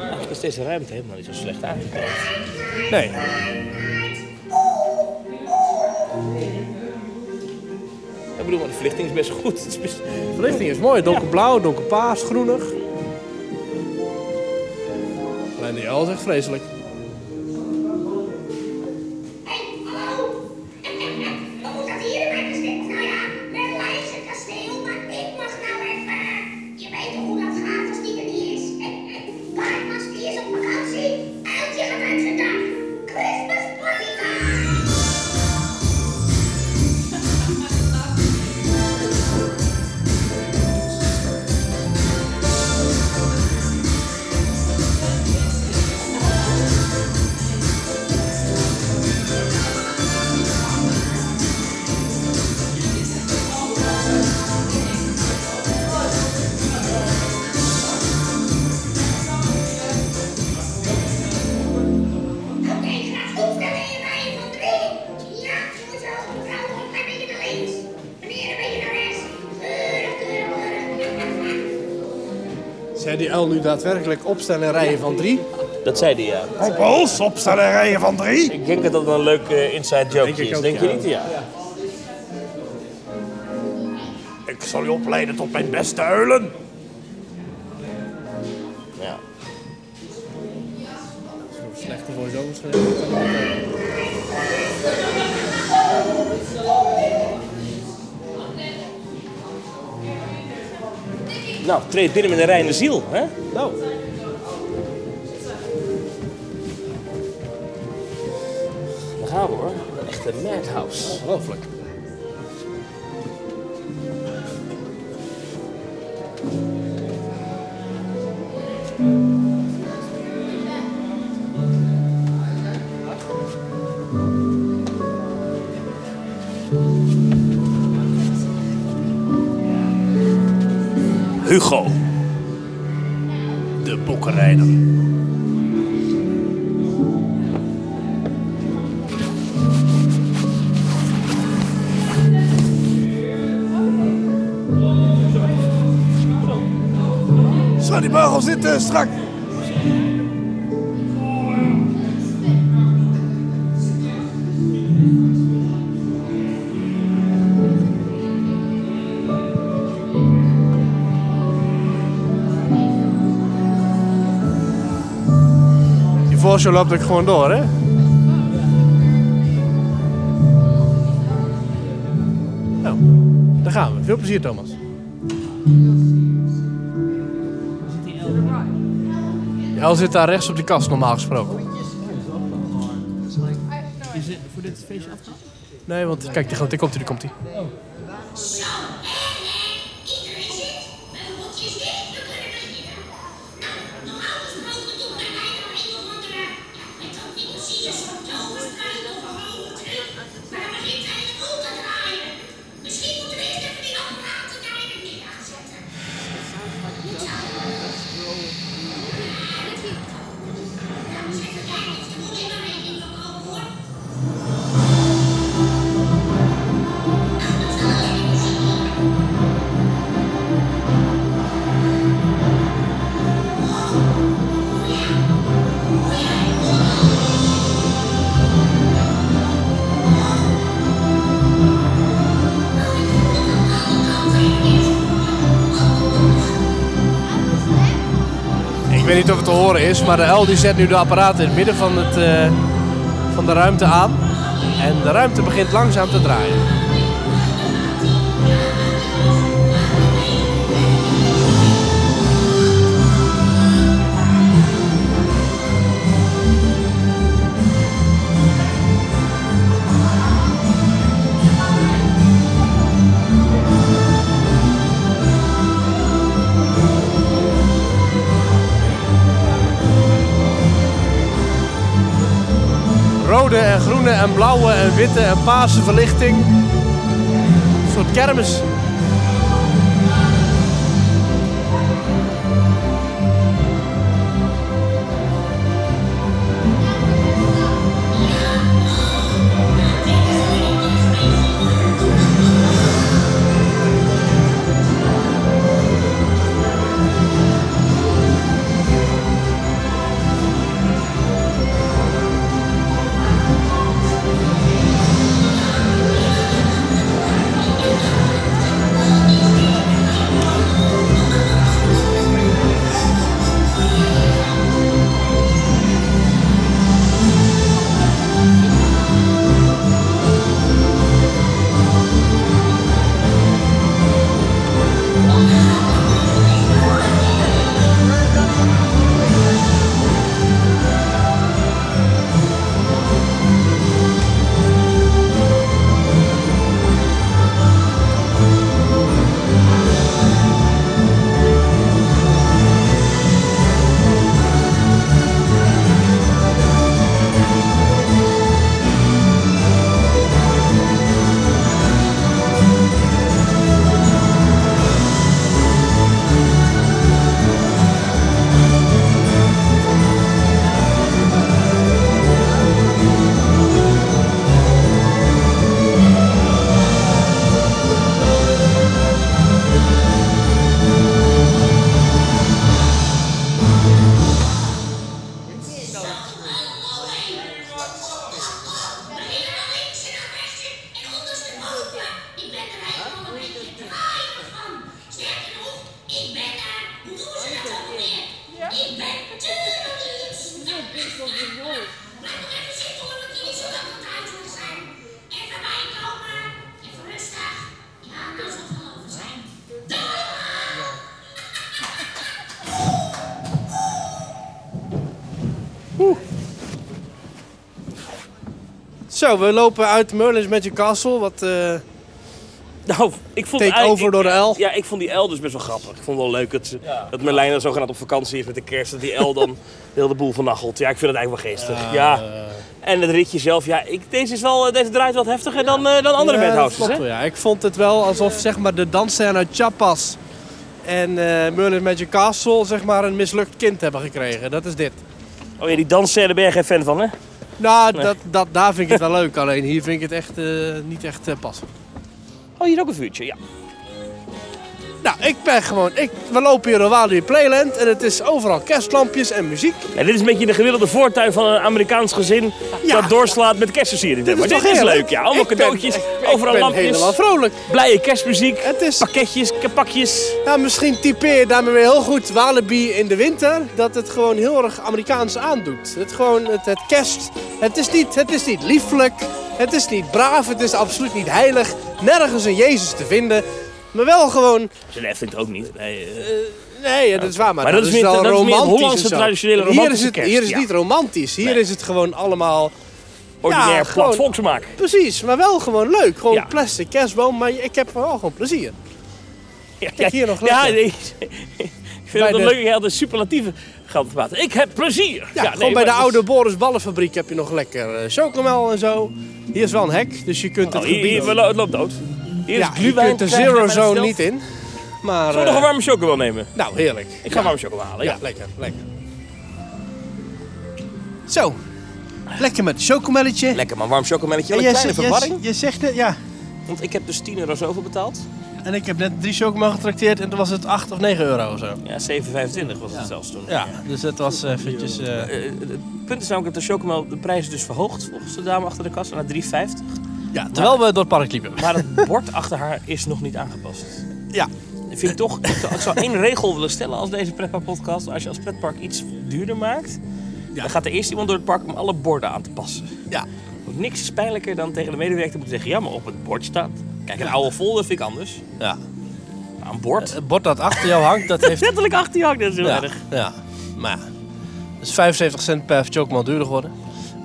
Eigenlijk is deze ruimte helemaal niet zo slecht aangekleed. Nee. Ik bedoel, maar de verlichting is best goed. Het is best- Verlichting is mooi. Donkerblauw, donkerpaars, groenig. Alleen die uil is echt vreselijk. Christmas party time! Oké, graag opstellen in rij van drie. Ja, goed zo. Mevrouw nog een klein beetje naar links. Meneer een beetje naar rechts. Keurig, keurig, keurig. Zij die uil nu daadwerkelijk opstellen in rijen van drie? Dat zei hij ja. Op ons, opstellen en rijden van drie. Ik denk dat dat een leuk eh, inside Denk joke ik is. ook, Denk ja. je niet? Ja. Ik zal je opleiden tot mijn beste huilen. ja. Slechte voice-overs gegeven. Nou, treed binnen met een reine ziel. Hè? Nou. Daar gaan we hoor. Een echte madhouse. Ongelooflijk. Hugo. De boekenrijder. Zo, die beugel zit eh, strak. Die voorshow loopt ook gewoon door, hè? Nou, daar gaan we. Veel plezier, Thomas. El zit daar rechts op de kast, normaal gesproken. Is het voor dit feestje afgehaald? Nee, want kijk, die, gaat- die komt hij, die komt hij. Zo, en eh, iedereen zit. Mijn potje is dit, we kunnen beginnen. Nou, normaal gesproken doet mijn leider een of andere. Ja, met dat ding zie je zo'n toverstraat of een hoge truc. Maar dan begint hij het om te draaien. Misschien moeten we eerst even die apparaten daar in het midden aanzetten. Goed zo. Ja, dat vind ik ook. Nou, eens even kijken. Er moet even rekening mee houden, hoor. Nou, dat is wel lekker muziek. Ik weet niet of het te horen is, maar de L die zet nu de apparaten in het midden van, het, eh, van de ruimte aan. En de ruimte begint langzaam te draaien. Rode en groene en blauwe en witte en paarse verlichting. Een soort kermis. Ik ben er helemaal een beetje draaien van. Sterker nog, ik ben daar, hoe doen ze dat ook weer? Ik ben tuurlijk iets. Laat nog even zitten hoor, want jullie zullen ook aan het zijn. Even bijkomen, even rustig. Ja, nou zal het wel over zijn. Zo, we lopen uit Merlin's Magic Castle. Wat, eh, Nou, ik vond Take eigenlijk- over ik- door de L. Ja, ik vond die L dus best wel grappig. Ik vond het wel leuk dat, ze- dat Merlijn dan zogenaamd op vakantie is met de kerst. Dat die L <laughs> dan heel de boel vernachelt. Ja, ik vind het eigenlijk wel geestig. Ja. En het ritje zelf, ja, ik, deze, is wel, deze draait wat heftiger dan, eh, dan andere ja, dat Madhouses, klopt hè? wel, ja. Ik vond het wel alsof zeg maar, de dansscène uit Chapas en eh Merlin Magic Castle zeg maar een mislukt kind hebben gekregen. Dat is dit. Oh ja, die dansscène ben je geen fan van, hè? Nou, Nee. dat, dat, daar vind ik het wel leuk. Alleen hier vind ik het echt eh, niet echt eh, passen. Oh, hier ook een vuurtje, ja. Nou, ik ben gewoon... Ik, we lopen hier in Walibi Playland en het is overal kerstlampjes en muziek. En dit is een beetje de gemiddelde voortuin van een Amerikaans gezin Ja. dat doorslaat met kerstversiering. Dit is maar toch dit is heerlijk? leuk, ja. Allemaal Ik ben- cadeautjes, ik- ik overal ben lampjes, helemaal vrolijk. blije kerstmuziek, Het is- pakketjes, kapakjes. Ja, Nou, misschien typeer je daarmee weer heel goed Walibi in de winter. Dat het gewoon heel erg Amerikaans aandoet. Het, gewoon, het, het kerst. Het is, niet, het is niet lieflijk. Het is niet braaf. Het is absoluut niet heilig. Nergens een Jezus te vinden. Maar wel gewoon... Ze heeft het ook niet. Nee, eh. Nee, ja, dat is waar. Maar, Maar dat, dat is is meer- wel dat is meer het romantisch. Hollandse en zo. traditionele Hier is romantische het, kerst, hier is het ja. niet romantisch. Hier Nee. is het gewoon allemaal... ordinair Ja, plat gewoon- volksmaak. Precies, maar wel gewoon leuk. Gewoon Ja. plastic kerstboom, maar ik heb er wel gewoon plezier. Ja, Kijk, hier nog Ja, lekker. nee, <laughs> ik vind Bij het de- een leuk. Ik had een superlatieve geld te praten. Ik heb plezier. Ja, gewoon nee, bij de maar dat is- oude Boris Ballenfabriek heb je nog lekker eh, chocomel en zo. Hier is wel een hek, dus je kunt het Oh, hier, gebied... hier, we lo- het loopt dood. Hier ja, is je gluwijn. kunt de krijg je bij Zero de Zone stelt. niet in. Maar, Zullen we nog een eh, warme chocobo nemen? nou, heerlijk. Ik ga warme chocobo halen, Ja, ja. lekker, lekker. Zo, lekker met chocomelletje. Lekker man, warm chocomelletje. Wel En een jij kleine zegt- jij- verwarring. Je zegt net, ja. Want ik heb dus 10 euro zoveel betaald. En ik heb net drie chocomel getrakteerd en toen was het 8 of 9 euro of zo. Ja, 7,25 was het zelfs toen. Ja, dus dat was eventjes... eh, Eh, het punt is namelijk dat de chocomel de prijs is dus verhoogd volgens de dame achter de kassa naar 3,50. ja, terwijl we door het park liepen. Maar het <laughs> bord achter haar is nog niet aangepast. Ja. Dat Vind ik toch, ik zou, ik zou één regel willen stellen als deze pretpark podcast. Als je als pretpark iets duurder maakt, dan gaat er eerst iemand door het park om alle borden aan te passen. Ja. Want niks is pijnlijker dan tegen de medewerker te moeten zeggen, ja maar op het bord staat. Kijk, een oude folder vind ik anders. ja. Maar een Eh, bord, Het bord dat achter jou hangt, dat heeft... <laughs> letterlijk achter je hak, dat is heel ja, erg. ja. Maar ja. Dus 75 cent per chocomel duurder geworden.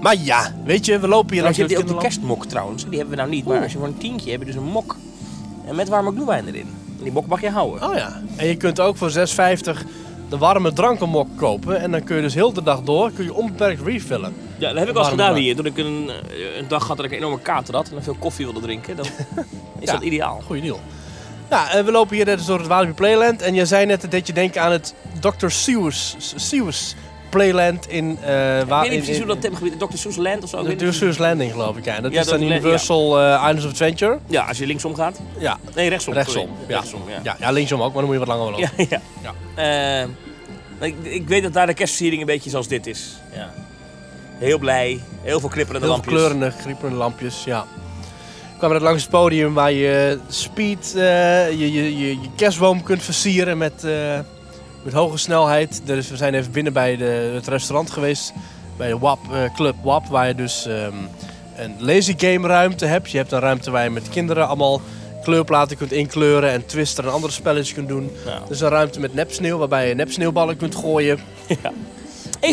Maar ja, weet je, we lopen hier Maar je langs hebt ook het de kerstmok trouwens, die hebben we nou niet. Maar als je voor een tientje hebt, dus een mok. En met warme gloewijn erin. En die mok mag je houden. Oh ja. En je kunt ook voor 6,50 de warme drankenmok kopen. En dan kun je dus heel de dag door, kun je onbeperkt refillen. Ja, dat heb ik al eens Warme gedaan bak. hier. Toen ik een, eh, een dag had dat ik een enorme kater had en veel koffie wilde drinken, <laughs> dan is dat ideaal. Goeie deal. Ja, en we lopen hier net dus door het Walibi Playland. En je zei net dat deed je denken aan het Dr. Seuss, Seuss Playland in... eh Ik Wa- weet niet in- precies hoe in- dat themgebied is. Dr. Seuss Land of zo. ik de weet niet. Seuss Landing geloof ik, ja. En Dat Ja, is dan dat- ja. Universal eh, Islands of Adventure. Ja, als je linksom gaat. Ja, Nee, rechtsom. rechtsom. sorry. Ja. Rechtsom, ja. Ja, ja, linksom ook, maar dan moet je wat langer lopen. <laughs> Ja, ja. Eh, maar ik, ik weet dat daar de kerstversiering een beetje zoals dit is. Ja. Heel blij, heel veel knipperende Heel veel lampjes. kleurende, grieperende lampjes, ja. We kwamen net langs het podium waar je speed, eh, je, je, je, je kerstboom kunt versieren met, eh, met hoge snelheid. Dus we zijn even binnen bij de, het restaurant geweest, bij de WAP, eh, Club WAP, waar je dus ehm, een lazy game ruimte hebt. Je hebt een ruimte waar je met kinderen allemaal kleurplaten kunt inkleuren en twister en andere spelletjes kunt doen. Ja. Dus een ruimte met nepsneeuw, waarbij je nepsneeuwballen kunt gooien. Even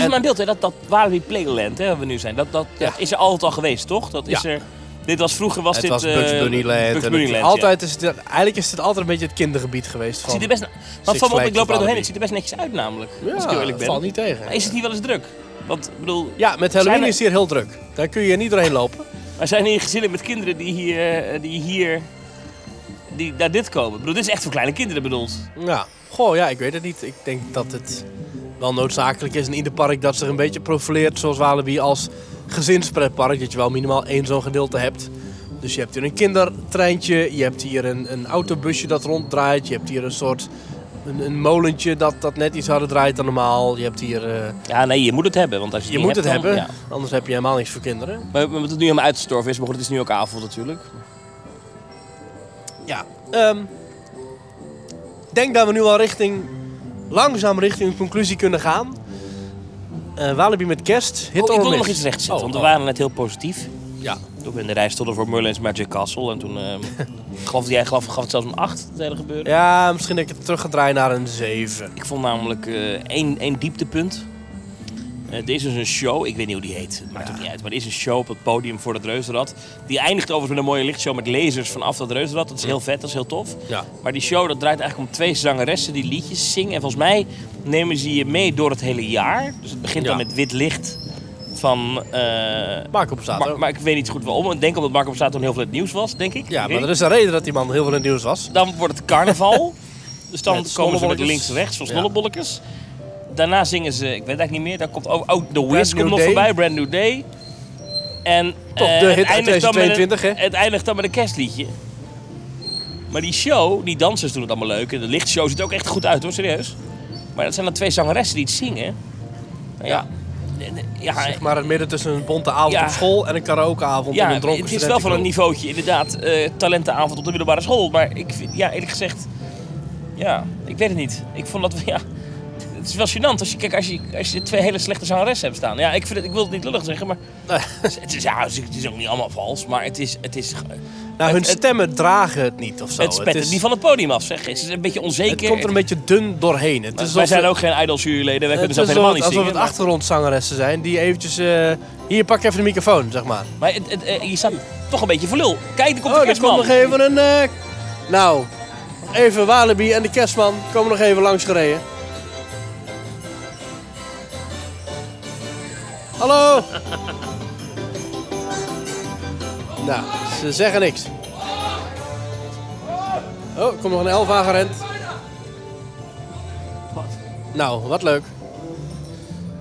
En- mijn beeld, hè, dat, dat Walibi Playland hè, waar we nu zijn, dat, dat, dat is er altijd al geweest, toch? Dat is Ja. er, dit was vroeger was Het dit... was eh, Bugs Bunny Land. Bugs en Bunny het- Land, ja. altijd is het, eigenlijk is het altijd een beetje het kindergebied geweest. Het Van, ziet er best, want Six van op, ik Flags loop er of doorheen, Walibi. het ziet er best netjes uit namelijk. als ik Ja, heel eerlijk ben. valt niet tegen. Maar is het hier wel eens druk? Want ik bedoel, Ja, met Zijn Halloween er- is hier heel druk. Daar kun je niet doorheen lopen. er zijn hier gezinnen met kinderen die hier, eh, die hier die naar dit komen. Ik bedoel, dit is echt voor kleine kinderen bedoeld. Ja. Goh, ja, ik weet het niet. Ik denk dat het wel noodzakelijk is in ieder park dat zich een beetje profileert. Zoals Walibi als gezinspretpark. Dat je wel minimaal één zo'n gedeelte hebt. Dus je hebt hier een kindertreintje. Je hebt hier een, een autobusje dat ronddraait. Je hebt hier een soort... Een, een molentje dat, dat net iets harder draait dan normaal. Je hebt hier... eh, Ja, nee, je moet het hebben, want als je, je niet moet het hebt, dan- hebben. ja. Anders heb je helemaal niks voor kinderen. Maar omdat het nu helemaal uitgestorven is, maar goed, het is nu ook avond natuurlijk. Ja. ehm, ik denk dat we nu al richting, langzaam richting een conclusie kunnen gaan. Eh Walibi met kerst, hit Oh, or ik wil miss. nog iets rechtzetten, Oh, want oh. we waren net heel positief. Ja. Toen we in de rij stonden voor Merlin's Magic Castle en toen <laughs> ehm gaf jij gaf, gaf het zelfs een 8, dat hele gebeuren. ja, misschien dat ik het terug ga draaien naar een 7. Ik vond namelijk eh, één, één dieptepunt. Eh, er is dus een show, ik weet niet hoe die heet, maakt ook niet uit. Maar er is een show op het podium voor het Reuzenrad. Die eindigt overigens met een mooie lichtshow met lasers vanaf dat Reuzenrad. Dat is heel vet, dat is heel tof. Ja. Maar die show dat draait eigenlijk om twee zangeressen die liedjes zingen. En volgens mij nemen ze je mee door het hele jaar. Dus het begint Ja. Ah, dan met wit licht van... eh, Marco Borsato. maar, maar ik weet niet goed waarom. Ik denk omdat Marco Borsato heel veel in het nieuws was, denk ik. Ja, Ik maar weet er is een reden dat die man heel veel in het nieuws was. <laughs> dan wordt het carnaval. Dus dan Met komen ze met snollebollekes. links en rechts van Ja. snollebollekes. Daarna zingen ze, ik weet eigenlijk niet meer, daar komt ook oh, The Wiz Brand komt New nog Day. voorbij, Brand New Day. En Toch eh, de het hit uit eindigt dan met een- 2022, hè? Het eindigt dan met een kerstliedje. Maar die show, die dansers doen het allemaal leuk. En de lichtshow ziet er ook echt goed uit hoor, serieus. Maar dat zijn dan twee zangeressen die het zingen. Nou ja, ja, Zeg maar het midden tussen een bonte avond Ja. op school en een karaokeavond ja, in een dronken het is wel van een studentenclub. niveautje, inderdaad. eh, talentenavond op de middelbare school. Maar ik vind, ja, eerlijk gezegd, ja, ik weet het niet. Ik vond dat, <laughs> ja, het is wel gênant als je, kijk, als je, als je twee hele slechte zangeressen hebt staan. Ja, ik, vind het, ik wil het niet lullig zeggen, maar Eh, <laughs> het, is, ja, het is ook niet allemaal vals. Maar het is, het is, Nou, hun het- het- stemmen dragen het niet of zo. het spet het is- niet van het podium af, zeg. Het is een beetje onzeker. het komt er een beetje dun doorheen. Het is alsof Wij zijn we- ook geen idols-juryleden, wij het kunnen is zelf Eh, alsof het- dus helemaal niet alsof zingen. het maar- achtergrondzangeressen zijn die eventjes... eh, hier, pak even de microfoon, zeg maar. Maar het, het, eh, je staat toch een beetje voor lul. Kijk, er komt Oh, de er komt kerstman. nog even een... eh, nou, even Walibi en de kerstman komen nog even langs gereden. Hallo! <laughs> nou, ze zeggen niks. Oh, er komt nog een elf aangerend. Nou, wat leuk.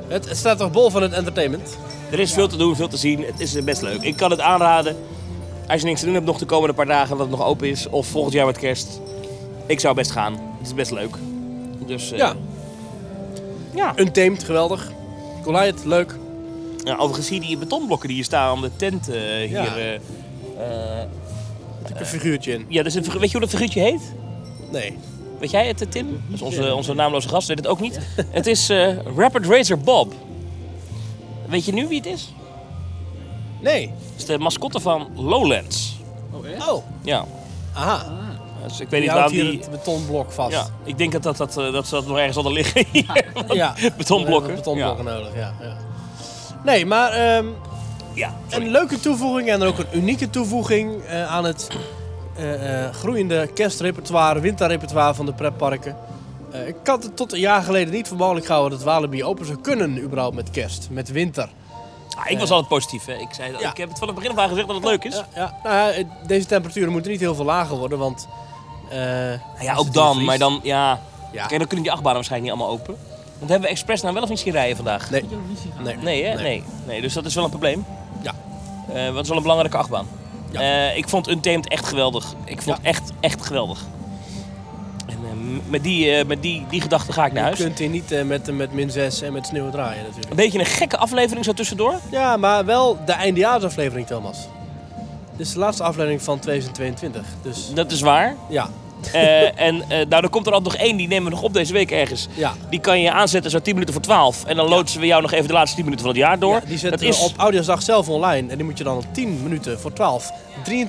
Het het staat toch bol van het entertainment? Er is veel te doen, veel te zien. Het is eh, best leuk. Ik kan het aanraden. Als je niks te doen hebt nog de komende paar dagen dat het nog open is. Of volgend jaar met kerst. Ik zou best gaan. Het is best leuk. Dus eh, Ja. Ja. Untamed, geweldig. Goliath, leuk. ja, overigens zie je die betonblokken die hier staan om de tent eh, hier... Ja. eh, eh, Een figuurtje in. ja, dus een, figu- weet je hoe dat figuurtje heet? Nee. Weet jij het, eh, Tim? Dat is onze, onze naamloze gast weet het ook niet. Het is eh, Rapid Racer Bob. Weet je nu wie het is? Nee. Het is de mascotte van Lowlands. Oh, Ja. aha. Dus ik Die weet niet houdt waarom hier die... het betonblok vast. Ja, ik denk dat, dat, dat, eh, dat ze dat nog ergens hadden liggen <laughs> hier. Want Ja. Betonblokken. We hebben Betonblokken nodig, ja. ja. Nee, maar ehm, Ja, sorry. een leuke toevoeging en ook een unieke toevoeging eh, aan het eh, eh, groeiende kerstrepertoire, winterrepertoire van de pretparken. Eh, ik had het tot een jaar geleden niet voor mogelijk gehouden dat Walibi open zou kunnen, überhaupt met kerst, met winter. Ah, ik was altijd positief. Hè. Ik, zei, dat- ja. ik heb het van het begin af aan gezegd dat het leuk is. Ja, ja, nou, ja, deze temperaturen moeten niet heel veel lager worden, want... eh, Nou ja, als ook het hier dan. vriest- Maar dan, ja. Ja. Kijk, dan kunnen die achtbanen waarschijnlijk niet allemaal open. Want hebben we expres nou wel of niet zien rijden vandaag? Nee. Nee. Nee, hè? Nee. nee. dus dat is wel een probleem. Ja. Eh, wat is wel een belangrijke achtbaan. Ja. Eh, ik vond Untamed echt geweldig. Ik vond Ja. echt, echt geweldig. En eh, m- met die, eh, met die, die gedachte ga ik naar Je huis. kunt hier niet eh, met, met min 6 en met sneeuw draaien natuurlijk. Een beetje een gekke aflevering zo tussendoor. Ja, maar wel de eindejaarsaflevering, Thomas. Dit is de laatste aflevering van 2022. Dus Dat is waar. ja, Eh, en eh, nou, er komt er altijd nog één, die nemen we nog op deze week ergens. Ja. Die kan je aanzetten zo 10 minuten voor 12. En dan loodsen we jou nog even de laatste 10 minuten van het jaar door. ja die zetten dat is we op Oudjaarsdag zelf online. En die moet je dan op 10 minuten voor 12. 2350.00.00.00.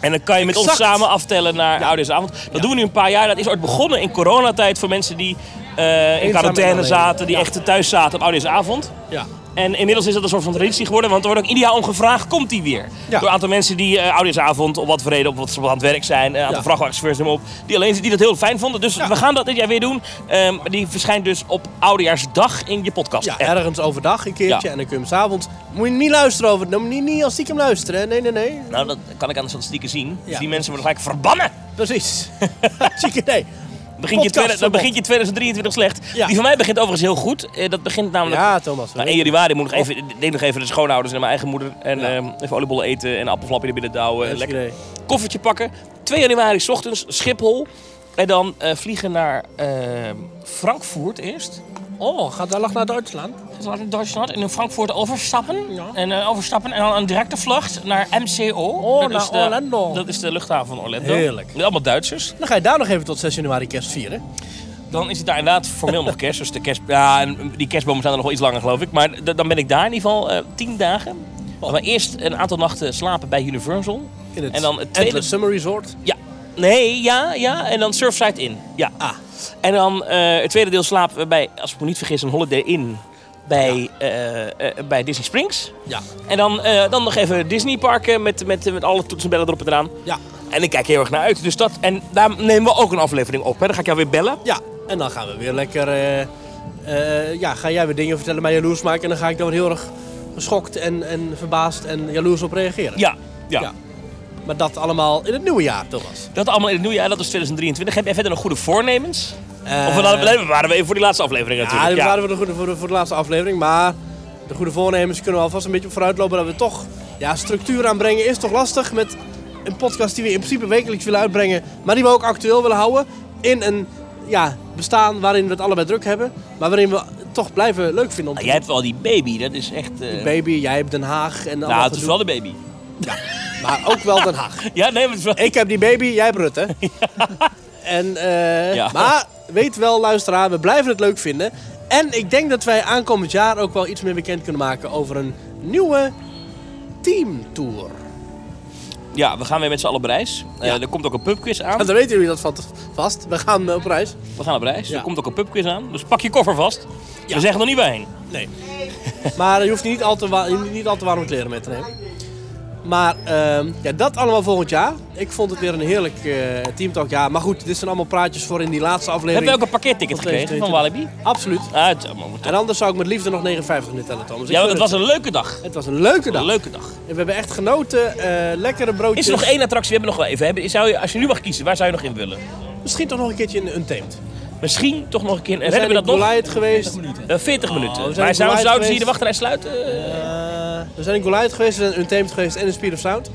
En dan kan je met ons Exact. samen aftellen naar Oudejaarsavond. Dat doen we nu een paar jaar. Dat is ooit begonnen in coronatijd voor mensen die eh, in en quarantaine alleen. zaten, die Ja. echt thuis zaten op Oudejaarsavond. Ja, En inmiddels is dat een soort van traditie geworden, want er wordt ook ieder jaar om gevraagd, komt die weer? Ja. Door een aantal mensen die eh Oudejaarsavond op wat verreden, op wat ze aan het werk zijn, een aantal Ja. vrachtwagenchauffeurs noem maar op, die, alleen, die dat heel fijn vonden. Dus we gaan dat dit jaar weer doen. Ehm, die verschijnt dus op Oudejaarsdag in je podcast. ja app. ergens overdag een keertje. Ja. En dan kun je hem s'avonds... Moet je niet luisteren over... Nou, niet, niet als stiekem luisteren, hè. Nee, nee, nee. Nou, dat kan ik aan de statistieken zien. Dus Ja. die mensen worden gelijk verbannen. <laughs> Precies. Zieke nee. Begint je, tweede- dan Podcastverbod. begint je 2023 slecht. Ja. Die van mij begint overigens heel goed. Eh, dat begint namelijk... Ja, Thomas. we Nou, 1 weten- Oh. januari moet ik nog even, ik deed nog even de schoonouders en naar mijn eigen moeder. En Ja. ehm, even oliebollen eten en appelflapje er binnen douwen. Dat is lekker idee. koffertje pakken. 2 januari 's ochtends, Schiphol. En dan eh, vliegen naar ehm, Frankfurt eerst. Oh, gaat daar lag naar Duitsland? Dus laten we Duitsland en in Frankfurt overstappen. En, eh, overstappen en dan een directe vlucht naar MCO. Oh, naar Orlando. Dat is de luchthaven van Orlando. Heerlijk. Met allemaal Duitsers. Dan ga je daar nog even tot 6 januari kerst vieren. Dan is het daar inderdaad formeel nog kerst. Dus de kerst, ja, en die kerstbomen staan er nog wel iets langer, geloof ik. Maar d- dan ben ik daar in ieder geval eh, tien dagen. Maar eerst een aantal nachten slapen bij Universal. Oh. In het en dan het tweede... Endless Summer Resort. Ja. Nee, ja, ja. En dan Surfside in. Ja. Ah. En dan eh, het tweede deel slapen we bij, als ik me niet vergis, een Holiday Inn. Bij, eh, eh, bij Disney Springs. Ja. En dan, eh, dan nog even Disney parken met, met, met alle toetsen en bellen erop en eraan. Ja. En ik kijk heel erg naar uit. Dus dat, en daar nemen we ook een aflevering op. Hè. Dan ga ik jou weer bellen. Ja, en dan gaan we weer lekker. eh, eh, ja, ga jij weer dingen vertellen, mij jaloers maken. En dan ga ik daar weer heel erg geschokt en, en verbaasd en jaloers op reageren. Ja, ja. Ja. Maar dat allemaal in het nieuwe jaar, Thomas. Dat allemaal in het nieuwe jaar, dat was 2023. Heb jij verder nog goede voornemens? of we laten- waren we even voor die laatste aflevering Eh, Ja, natuurlijk. dat Ja, Ah, waren we de goede, voor, de, voor de laatste aflevering. Maar de goede voornemens kunnen we alvast een beetje op vooruitlopen. Dat we toch ja, structuur aanbrengen is toch lastig met een podcast die we in principe wekelijks willen uitbrengen. Maar die we ook actueel willen houden. In een ja, bestaan waarin we het allebei druk hebben. Maar waarin we toch blijven leuk vinden om te Jij hebt wel die baby, dat is echt... eh, doen. Baby, jij hebt Den Haag en nou, allemaal het is wel de baby. <laughs> gedoe. Maar ook wel Den Haag. Ja, nee, maar het is wel... Ik heb die baby, jij hebt Rutte. <laughs> En, eh, Ja. Maar weet wel, luisteraar, we blijven het leuk vinden. En ik denk dat wij aankomend jaar ook wel iets meer bekend kunnen maken over een nieuwe teamtour. Ja, we gaan weer met z'n allen op reis. Eh, Ja. er komt ook een pubquiz aan. En dan weten jullie dat van- vast. We gaan eh, op reis. We gaan op reis. Ja. Er komt ook een pubquiz aan. Dus pak je koffer vast. We zeggen nog niet waarheen. Nee. <laughs> Maar je hoeft niet al te, wa- niet al te warme kleren mee te nemen. Maar ehm, ja, dat allemaal volgend jaar. Ik vond het weer een heerlijk teamtalk. teamtalkjaar. Maar goed, dit zijn allemaal praatjes voor in die laatste aflevering. Hebben we ook een parkeerticket Van gekregen van 2022. Walibi? Absoluut. Uit, allemaal. maar toch. En anders zou ik met liefde nog 59 nu tellen, Thomas. Ik Ja, gun want het was een leuke dag. Het was een leuke dag. Een leuke dag. En we hebben echt genoten. eh, lekkere broodjes. Is er nog één attractie? We hebben nog wel even. Hebben- Zou je, als je nu mag kiezen, waar zou je nog in willen? Misschien toch nog een keertje in Untamed. Misschien toch nog een keer. We Redden zijn we dat in nog? Goliath geweest. Eh, 40 minuten. Oh, we zijn maar in Goliath zou, zouden ze geweest. hier de wachtrij sluiten? Eh, Eh, we zijn in Goliath geweest, we zijn in Untamed geweest en in Speed of Sound.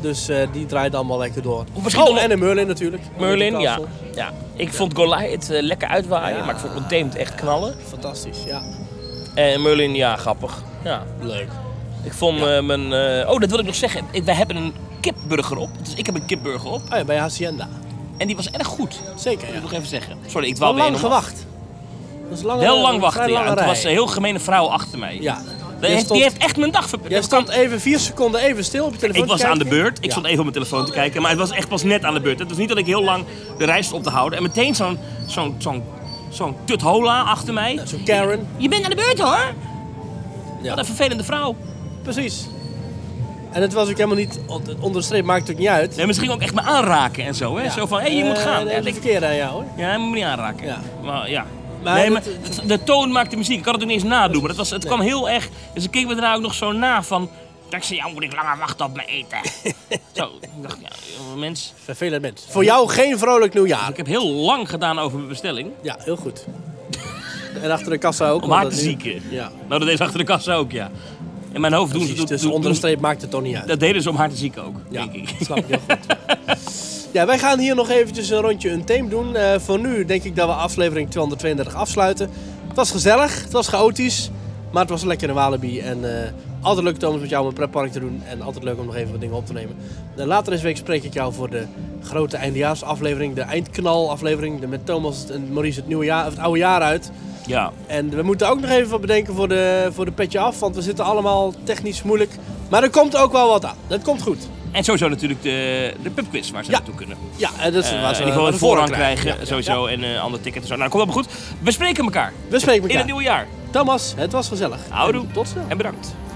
Dus eh, die draait allemaal lekker door. Misschien oh, nog- en in Merlin natuurlijk. Merlin, ja. Castle. ja. Ik vond Goliath eh, lekker uitwaaien, maar ik vond Untamed echt knallen. Fantastisch, ja. En Merlin, ja, grappig. Ja. Leuk. Ik vond eh, mijn... eh, oh, dat wil ik nog zeggen. Ik- wij hebben een kipburger op. Dus ik heb een kipburger op. Oh ja, bij Hacienda. En die was erg goed. Dat Zeker, ja. moet ik even zeggen. Sorry, ik Wel dwaal weer lang helemaal af. gewacht. Dat is lang, Heel lang wachten, vrij ja. lange En toen rij. was een heel gemene vrouw achter mij. Ja. Jij Die, heeft, stond, die heeft echt mijn dag verpest. jij stond even vier seconden even stil op je telefoon Ik was te aan de kijken. beurt. Ik Ja. stond even op mijn telefoon te kijken. Maar het was echt pas net aan de beurt. Het was niet dat ik heel lang de reis op te houden. En meteen zo'n zo'n zo'n zo'n tut hola achter mij. Zo'n Karen. Je bent aan de beurt hoor. Ja. Wat een vervelende vrouw. Precies. En het was ook helemaal niet, onderstreept maakt het ook niet uit. En misschien ook echt me aanraken en zo. Hè? Zo van, hé, je moet Eh, gaan. nee, Ja, dat is ik- verkeerd aan jou hoor. ja, je moet me niet aanraken. Ja. Maar ja. Maar nee, maar dat- de, de toon maakt de muziek. Ik kan het ook niet eens nadoen. Maar dat was, het kwam heel erg... Dus ik keek me daarna ook nog zo na van... dat Ik zei, ja, moet ik langer wachten op mijn eten? zo, ik dacht, ja, mens. Vervelend mens. Voor jou geen vrolijk nieuwjaar. Ik heb heel lang gedaan over mijn bestelling. Ja, heel goed. <laughs> en achter de kassa ook. Om want haar te dat nu- zieken. Ja. Nou, dat deed ze achter de kassa ook, ja. In mijn hoofd doen ze Precies, doen- dus doen- onder de doen- streep maakt het toch niet uit. Dat deden ze om haar te zieken ook, ja, denk ik. dat snap ik heel goed. <laughs> Ja, wij gaan hier nog eventjes een rondje een theme doen. Eh, voor nu denk ik dat we aflevering 232 afsluiten. Het was gezellig, het was chaotisch, maar het was lekker in Walibi. En eh, altijd leuk Thomas met jou om een pretpark te doen en altijd leuk om nog even wat dingen op te nemen. Eh, later deze week spreek ik jou voor de grote eindejaarsaflevering, de eindknalaflevering. De met Thomas en Maurice het, nieuwe jaar, of het oude jaar uit. Ja. En we moeten ook nog even wat bedenken voor de, voor de petje af, want we zitten allemaal technisch moeilijk. Maar er komt ook wel wat aan. Dat komt goed. En sowieso natuurlijk de, de pubquiz waar ze Ja. naartoe kunnen. Ja, en dat is Eh, waar en ze die gewoon wat een voorrang krijgen, Ja, ja, sowieso. En eh ander ticket en zo. Nou, komt allemaal goed. We spreken elkaar ja. We spreken in het elkaar. nieuwe jaar. Thomas, het was gezellig. Houdoe. En Tot snel. En bedankt.